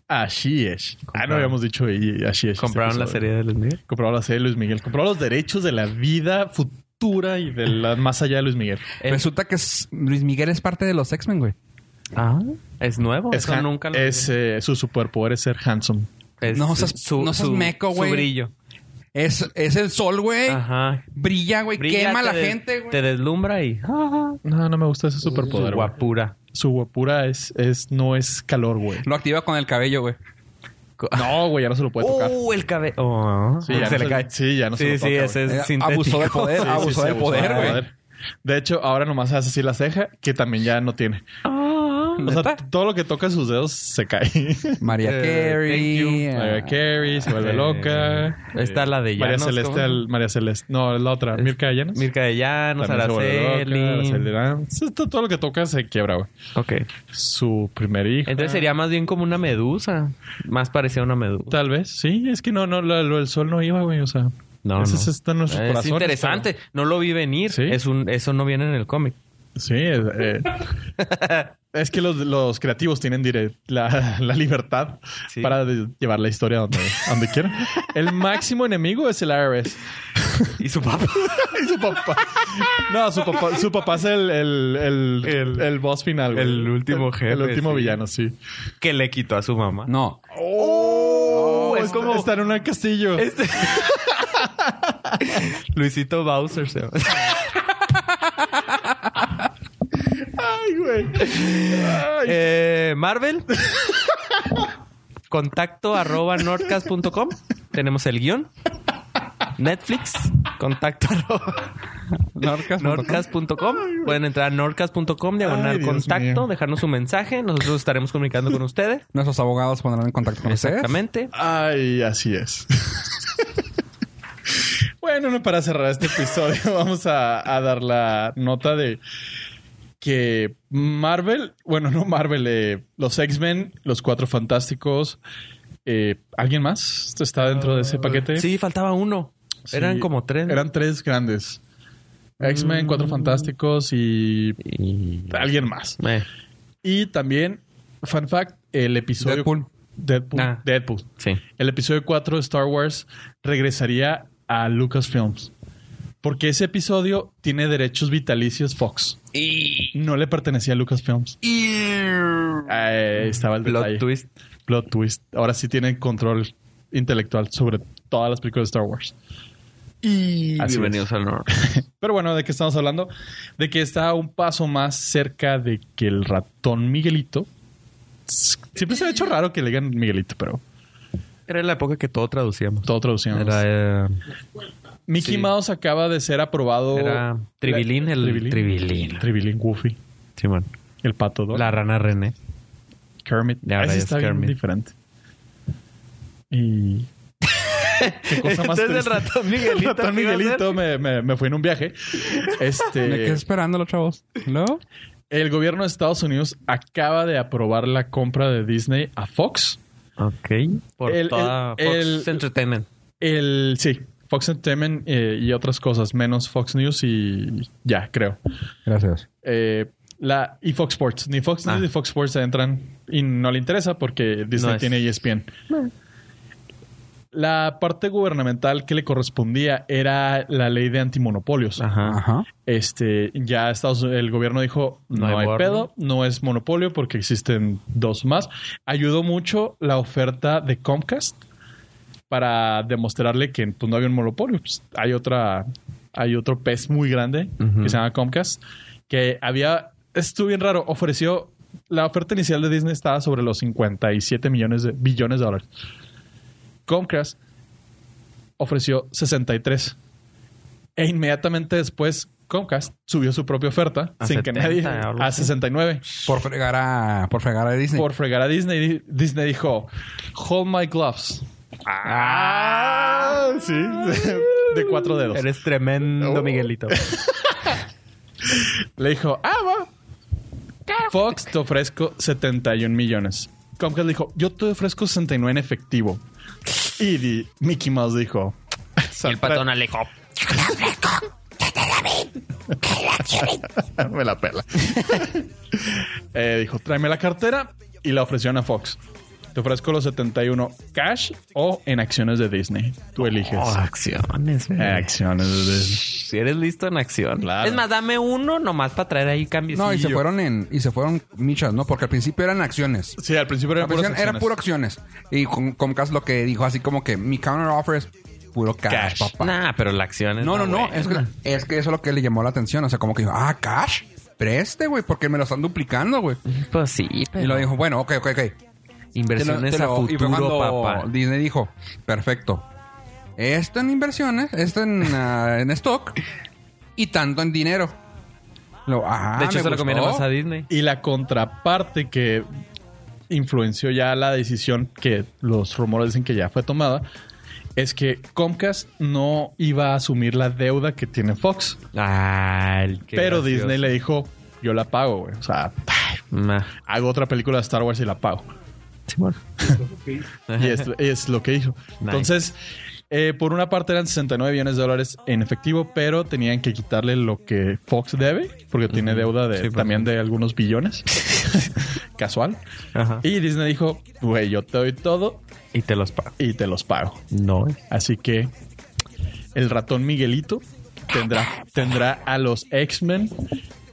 Así es. Ah, no Compraron. habíamos dicho y- así es. Compraron la Este episodio. serie de los Miguel. Compraron la serie de Luis Miguel. Compraron los derechos de la vida futura y de la más allá de Luis Miguel. El- Resulta que es- Luis Miguel es parte de los X-Men, güey. Ah, es nuevo. Es Eso han- nunca lo es, eh, su superpoder es ser handsome. es no seas- no seas meco, güey. Su brillo. Es, es el sol, güey. Ajá. Brilla, güey. Ah. Brilla, Quema a te la des- gente, güey. Te deslumbra y. ah, No, no me gusta ese su superpoder. güey. guapura. Su guapura es, es no es calor, güey. Lo activa con el cabello, güey. No, güey, ya no se lo puede tocar. ¡Uh! El cabello. Oh, Sí, ya no se- sí, ya no se Sí, lo sí, toca, güey. ese Eh, es sintético. abusó del poder, Sí, sí, abusó sí, del poder, del güey. poder. De hecho, ahora nomás hace así la ceja, que también ya no tiene. Ah, O sea, ¿neta? todo lo que toca sus dedos se cae. María Carey. ah, Mariah Carey se vuelve Eh, loca. está la de María Llanos, Celeste, ¿cómo? al- María Celeste. No, la otra, Mirka de Llanos. Mirka de Llanos, También se vuelve loca, Araceli Araceli. Llanos. Esto- Todo lo que toca se quiebra, güey. Ok. Su primer hijo. Entonces sería más bien como una medusa. Más parecida a una medusa. Tal vez, sí. Es que no, no, lo, lo del sol no iba, güey. O sea, No, ese no. es- está en nuestro es corazón. interesante. No lo vi venir. Sí. Es un, eso no viene en el cómic. Sí, es, eh, es que los, los creativos tienen dire- la, la libertad Sí. para de- llevar la historia donde, donde quieran. El máximo enemigo es el IRS. Y su papá. Y su papá. No, su papá, su papá es el, el, el, El- el boss final. güey. el último El- El jefe, último sí. villano, sí. que le quitó a su mamá. No. Oh, es está- como- Está en un castillo. Este- Luisito Bowser se llama. Ay, güey. Ay. Eh, Marvel. Contacto arroba nordcast.com. Tenemos el guión. Netflix. Contacto arroba Norcas. nordcast.com. Pueden entrar a nordcast.com, Ay, diagonal Dios contacto, mío. dejarnos un mensaje. Nosotros estaremos comunicando con ustedes. Nuestros abogados pondrán en contacto con ustedes. Exactamente. Ay, así es. bueno, no, para cerrar este episodio, vamos a, a dar la nota de que Marvel, bueno, no Marvel, eh, los X-Men, los Cuatro Fantásticos, eh, ¿alguien más está dentro de ese paquete? Sí, faltaba uno. Sí, Eran como tres. Mm. Eran tres grandes. X-Men, Cuatro Fantásticos y Y- alguien más. Eh, Y también, fun fact, el episodio... Deadpool. Deadpool. Ah. Deadpool. sí. el episodio 4 de Star Wars regresaría a Lucasfilms. Porque ese episodio tiene derechos vitalicios Fox. No le pertenecía a Lucasfilms. Ahí estaba el Plot detalle. twist. Plot twist. Ahora sí tienen control intelectual sobre todas las películas de Star Wars. Y Así es. bienvenidos al Nord. Pero bueno, ¿de qué estamos hablando? De que está un paso más cerca de que el ratón Miguelito. Siempre se ha hecho raro que le digan Miguelito, pero Era la época que todo traducíamos. todo traducimos. Era, eh, Mickey Sí. Mouse acaba de ser aprobado. Era Tribilín, el Tribilín. Tribilín. Tribilín Goofy. Simón. El pato Donald. La rana René. Kermit. Ya, Ese ahora está es bien Kermit. diferente. Y. Qué cosa más Entonces el triste. ratón Miguelito, El ratón ¿qué iba a Miguelito me, me- me fue en un viaje. Me quedé Este. esperándolo, chavos. ¿No? El gobierno de Estados Unidos acaba de aprobar la compra de Disney a Fox. Ok. Por El- toda el- Fox el- Entertainment. El. Sí. Fox Entertainment eh, y otras cosas, menos Fox News y ya, creo. Gracias. Eh, la, y Fox Sports. Ni Fox News Ah. ni Fox Sports entran y no le interesa porque Disney No es. tiene E ESPN. La parte gubernamental que le correspondía era la ley de antimonopolios. Ajá. Ajá. Este, ya Estados el gobierno dijo, No no, hay hay borne". pedo, no es monopolio porque existen dos más. Ayudó mucho la oferta de Comcast para demostrarle que pues, no había un monopolio. Pues, hay otra, hay otro pez muy grande Ujú. que se llama Comcast que había, estuvo bien raro, ofreció, la oferta inicial de Disney estaba sobre los 57 millones de billones de dólares. Comcast ofreció 63. E inmediatamente después Comcast subió su propia oferta A sin 70, que nadie algo a así. 69 Por fregar a, por fregar a Disney. por fregar a Disney. Di- Disney dijo, "Hold my gloves." Ah, sí, de cuatro dedos. Eres tremendo Oh. Miguelito. Le dijo, ah, va. Fox, te ofrezco 71 millones. Comcast le dijo, yo te ofrezco 69 en efectivo. Y di- Mickey Mouse dijo, Y el patón Alejo. Me la pela. Eh, dijo, tráeme la cartera y la ofrecieron a Fox. Te ofrezco los 71 cash o en acciones de Disney. Tú eliges. Oh, acciones, güey. Acciones de Disney. Si eres listo en acción. Claro. Es más, dame uno nomás para traer ahí cambios. No, y se fueron en, y se fueron michas, ¿no? Porque al principio eran acciones. Sí, al principio La eran puras versión era acciones. puro acciones. Y con- Comcast lo que dijo así como que mi counter offer es puro cash, Cash. papá. Nah, pero la acción es no, la no, no. buena. Es que, es que eso es lo que le llamó la atención. O sea, como que dijo, ah, cash, preste, güey, porque me lo están duplicando, güey. Pues sí, pero Y lo dijo, bueno, ok, ok, ok. Te lo- inversiones te lo- a y fue futuro, cuando papá. Disney dijo, perfecto. Esto en inversiones, esto en, ah, en stock y tanto en dinero. Lo, ah, de hecho, me eso le conviene gustó. más a Disney. Y la contraparte que influenció ya la decisión que los rumores dicen que ya fue tomada es que Comcast no iba a asumir la deuda que tiene Fox. Ah, el que pero gracioso. Disney le dijo, yo la pago, güey. O sea, Nah. hago otra película de Star Wars y la pago. Simón. Y es, es lo que dijo. Entonces, eh, por una parte eran 69 millones de dólares en efectivo, pero tenían que quitarle lo que Fox debe, porque tiene deuda de, Sí, pues. también de algunos billones. Casual. Ajá. Y Disney dijo, güey, yo te doy todo Y te los pago. y te los pago. No. Así que el ratón Miguelito tendrá, tendrá a los X-Men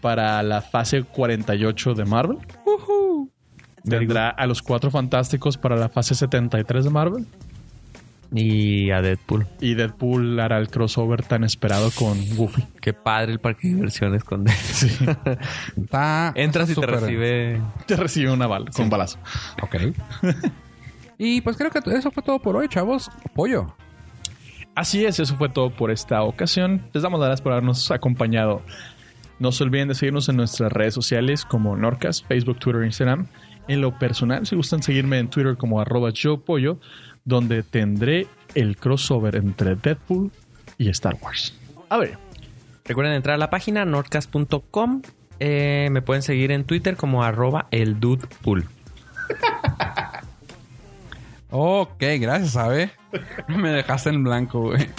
para la fase 48 de Marvel. Tendrá a los Cuatro Fantásticos para la fase 73 de Marvel. Y a Deadpool. Y Deadpool hará el crossover tan esperado con Goofy. Qué padre el parque de diversiones con Deadpool. Está Entras y te súper- recibe. Te recibe una bala, con balazo. Ok. y pues creo que eso fue todo por hoy, chavos. Pollo. Así es, eso fue todo por esta ocasión. Les damos las gracias por habernos acompañado. No se olviden de seguirnos en nuestras redes sociales como Norcas, Facebook, Twitter, Instagram. En lo personal, si gustan seguirme en Twitter como arroba yo pollo, donde tendré el crossover entre Deadpool y Star Wars. A ver, Recuerden entrar a la página nordcast.com. Eh, me pueden seguir en Twitter como arroba el dudepool. Ok, gracias, ¿sabe? Me dejaste en blanco, güey.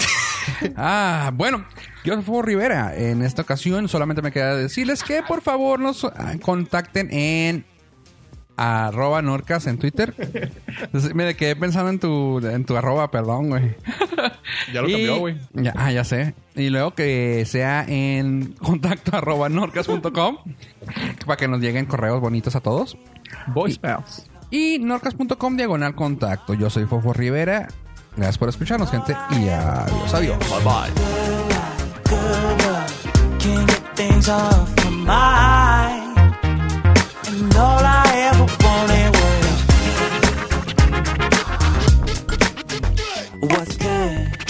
Ah, bueno, yo soy Rivera. En esta ocasión solamente me queda decirles que por favor nos ah, contacten en arroba norcas en Twitter. Entonces, me quedé pensando en tu, en tu arroba, perdón, güey. ya lo Y- cambió, güey. Ya, ah, ya sé. Y luego que sea en contacto arroba norcas.com para que nos lleguen correos bonitos a todos. Voicemails. Y norcas.com diagonal contacto. Yo soy Fofo Rivera. Gracias por escucharnos, gente. Y adiós, adiós. good girl. Can't get things off my mind. And all I ever wanted was what's good.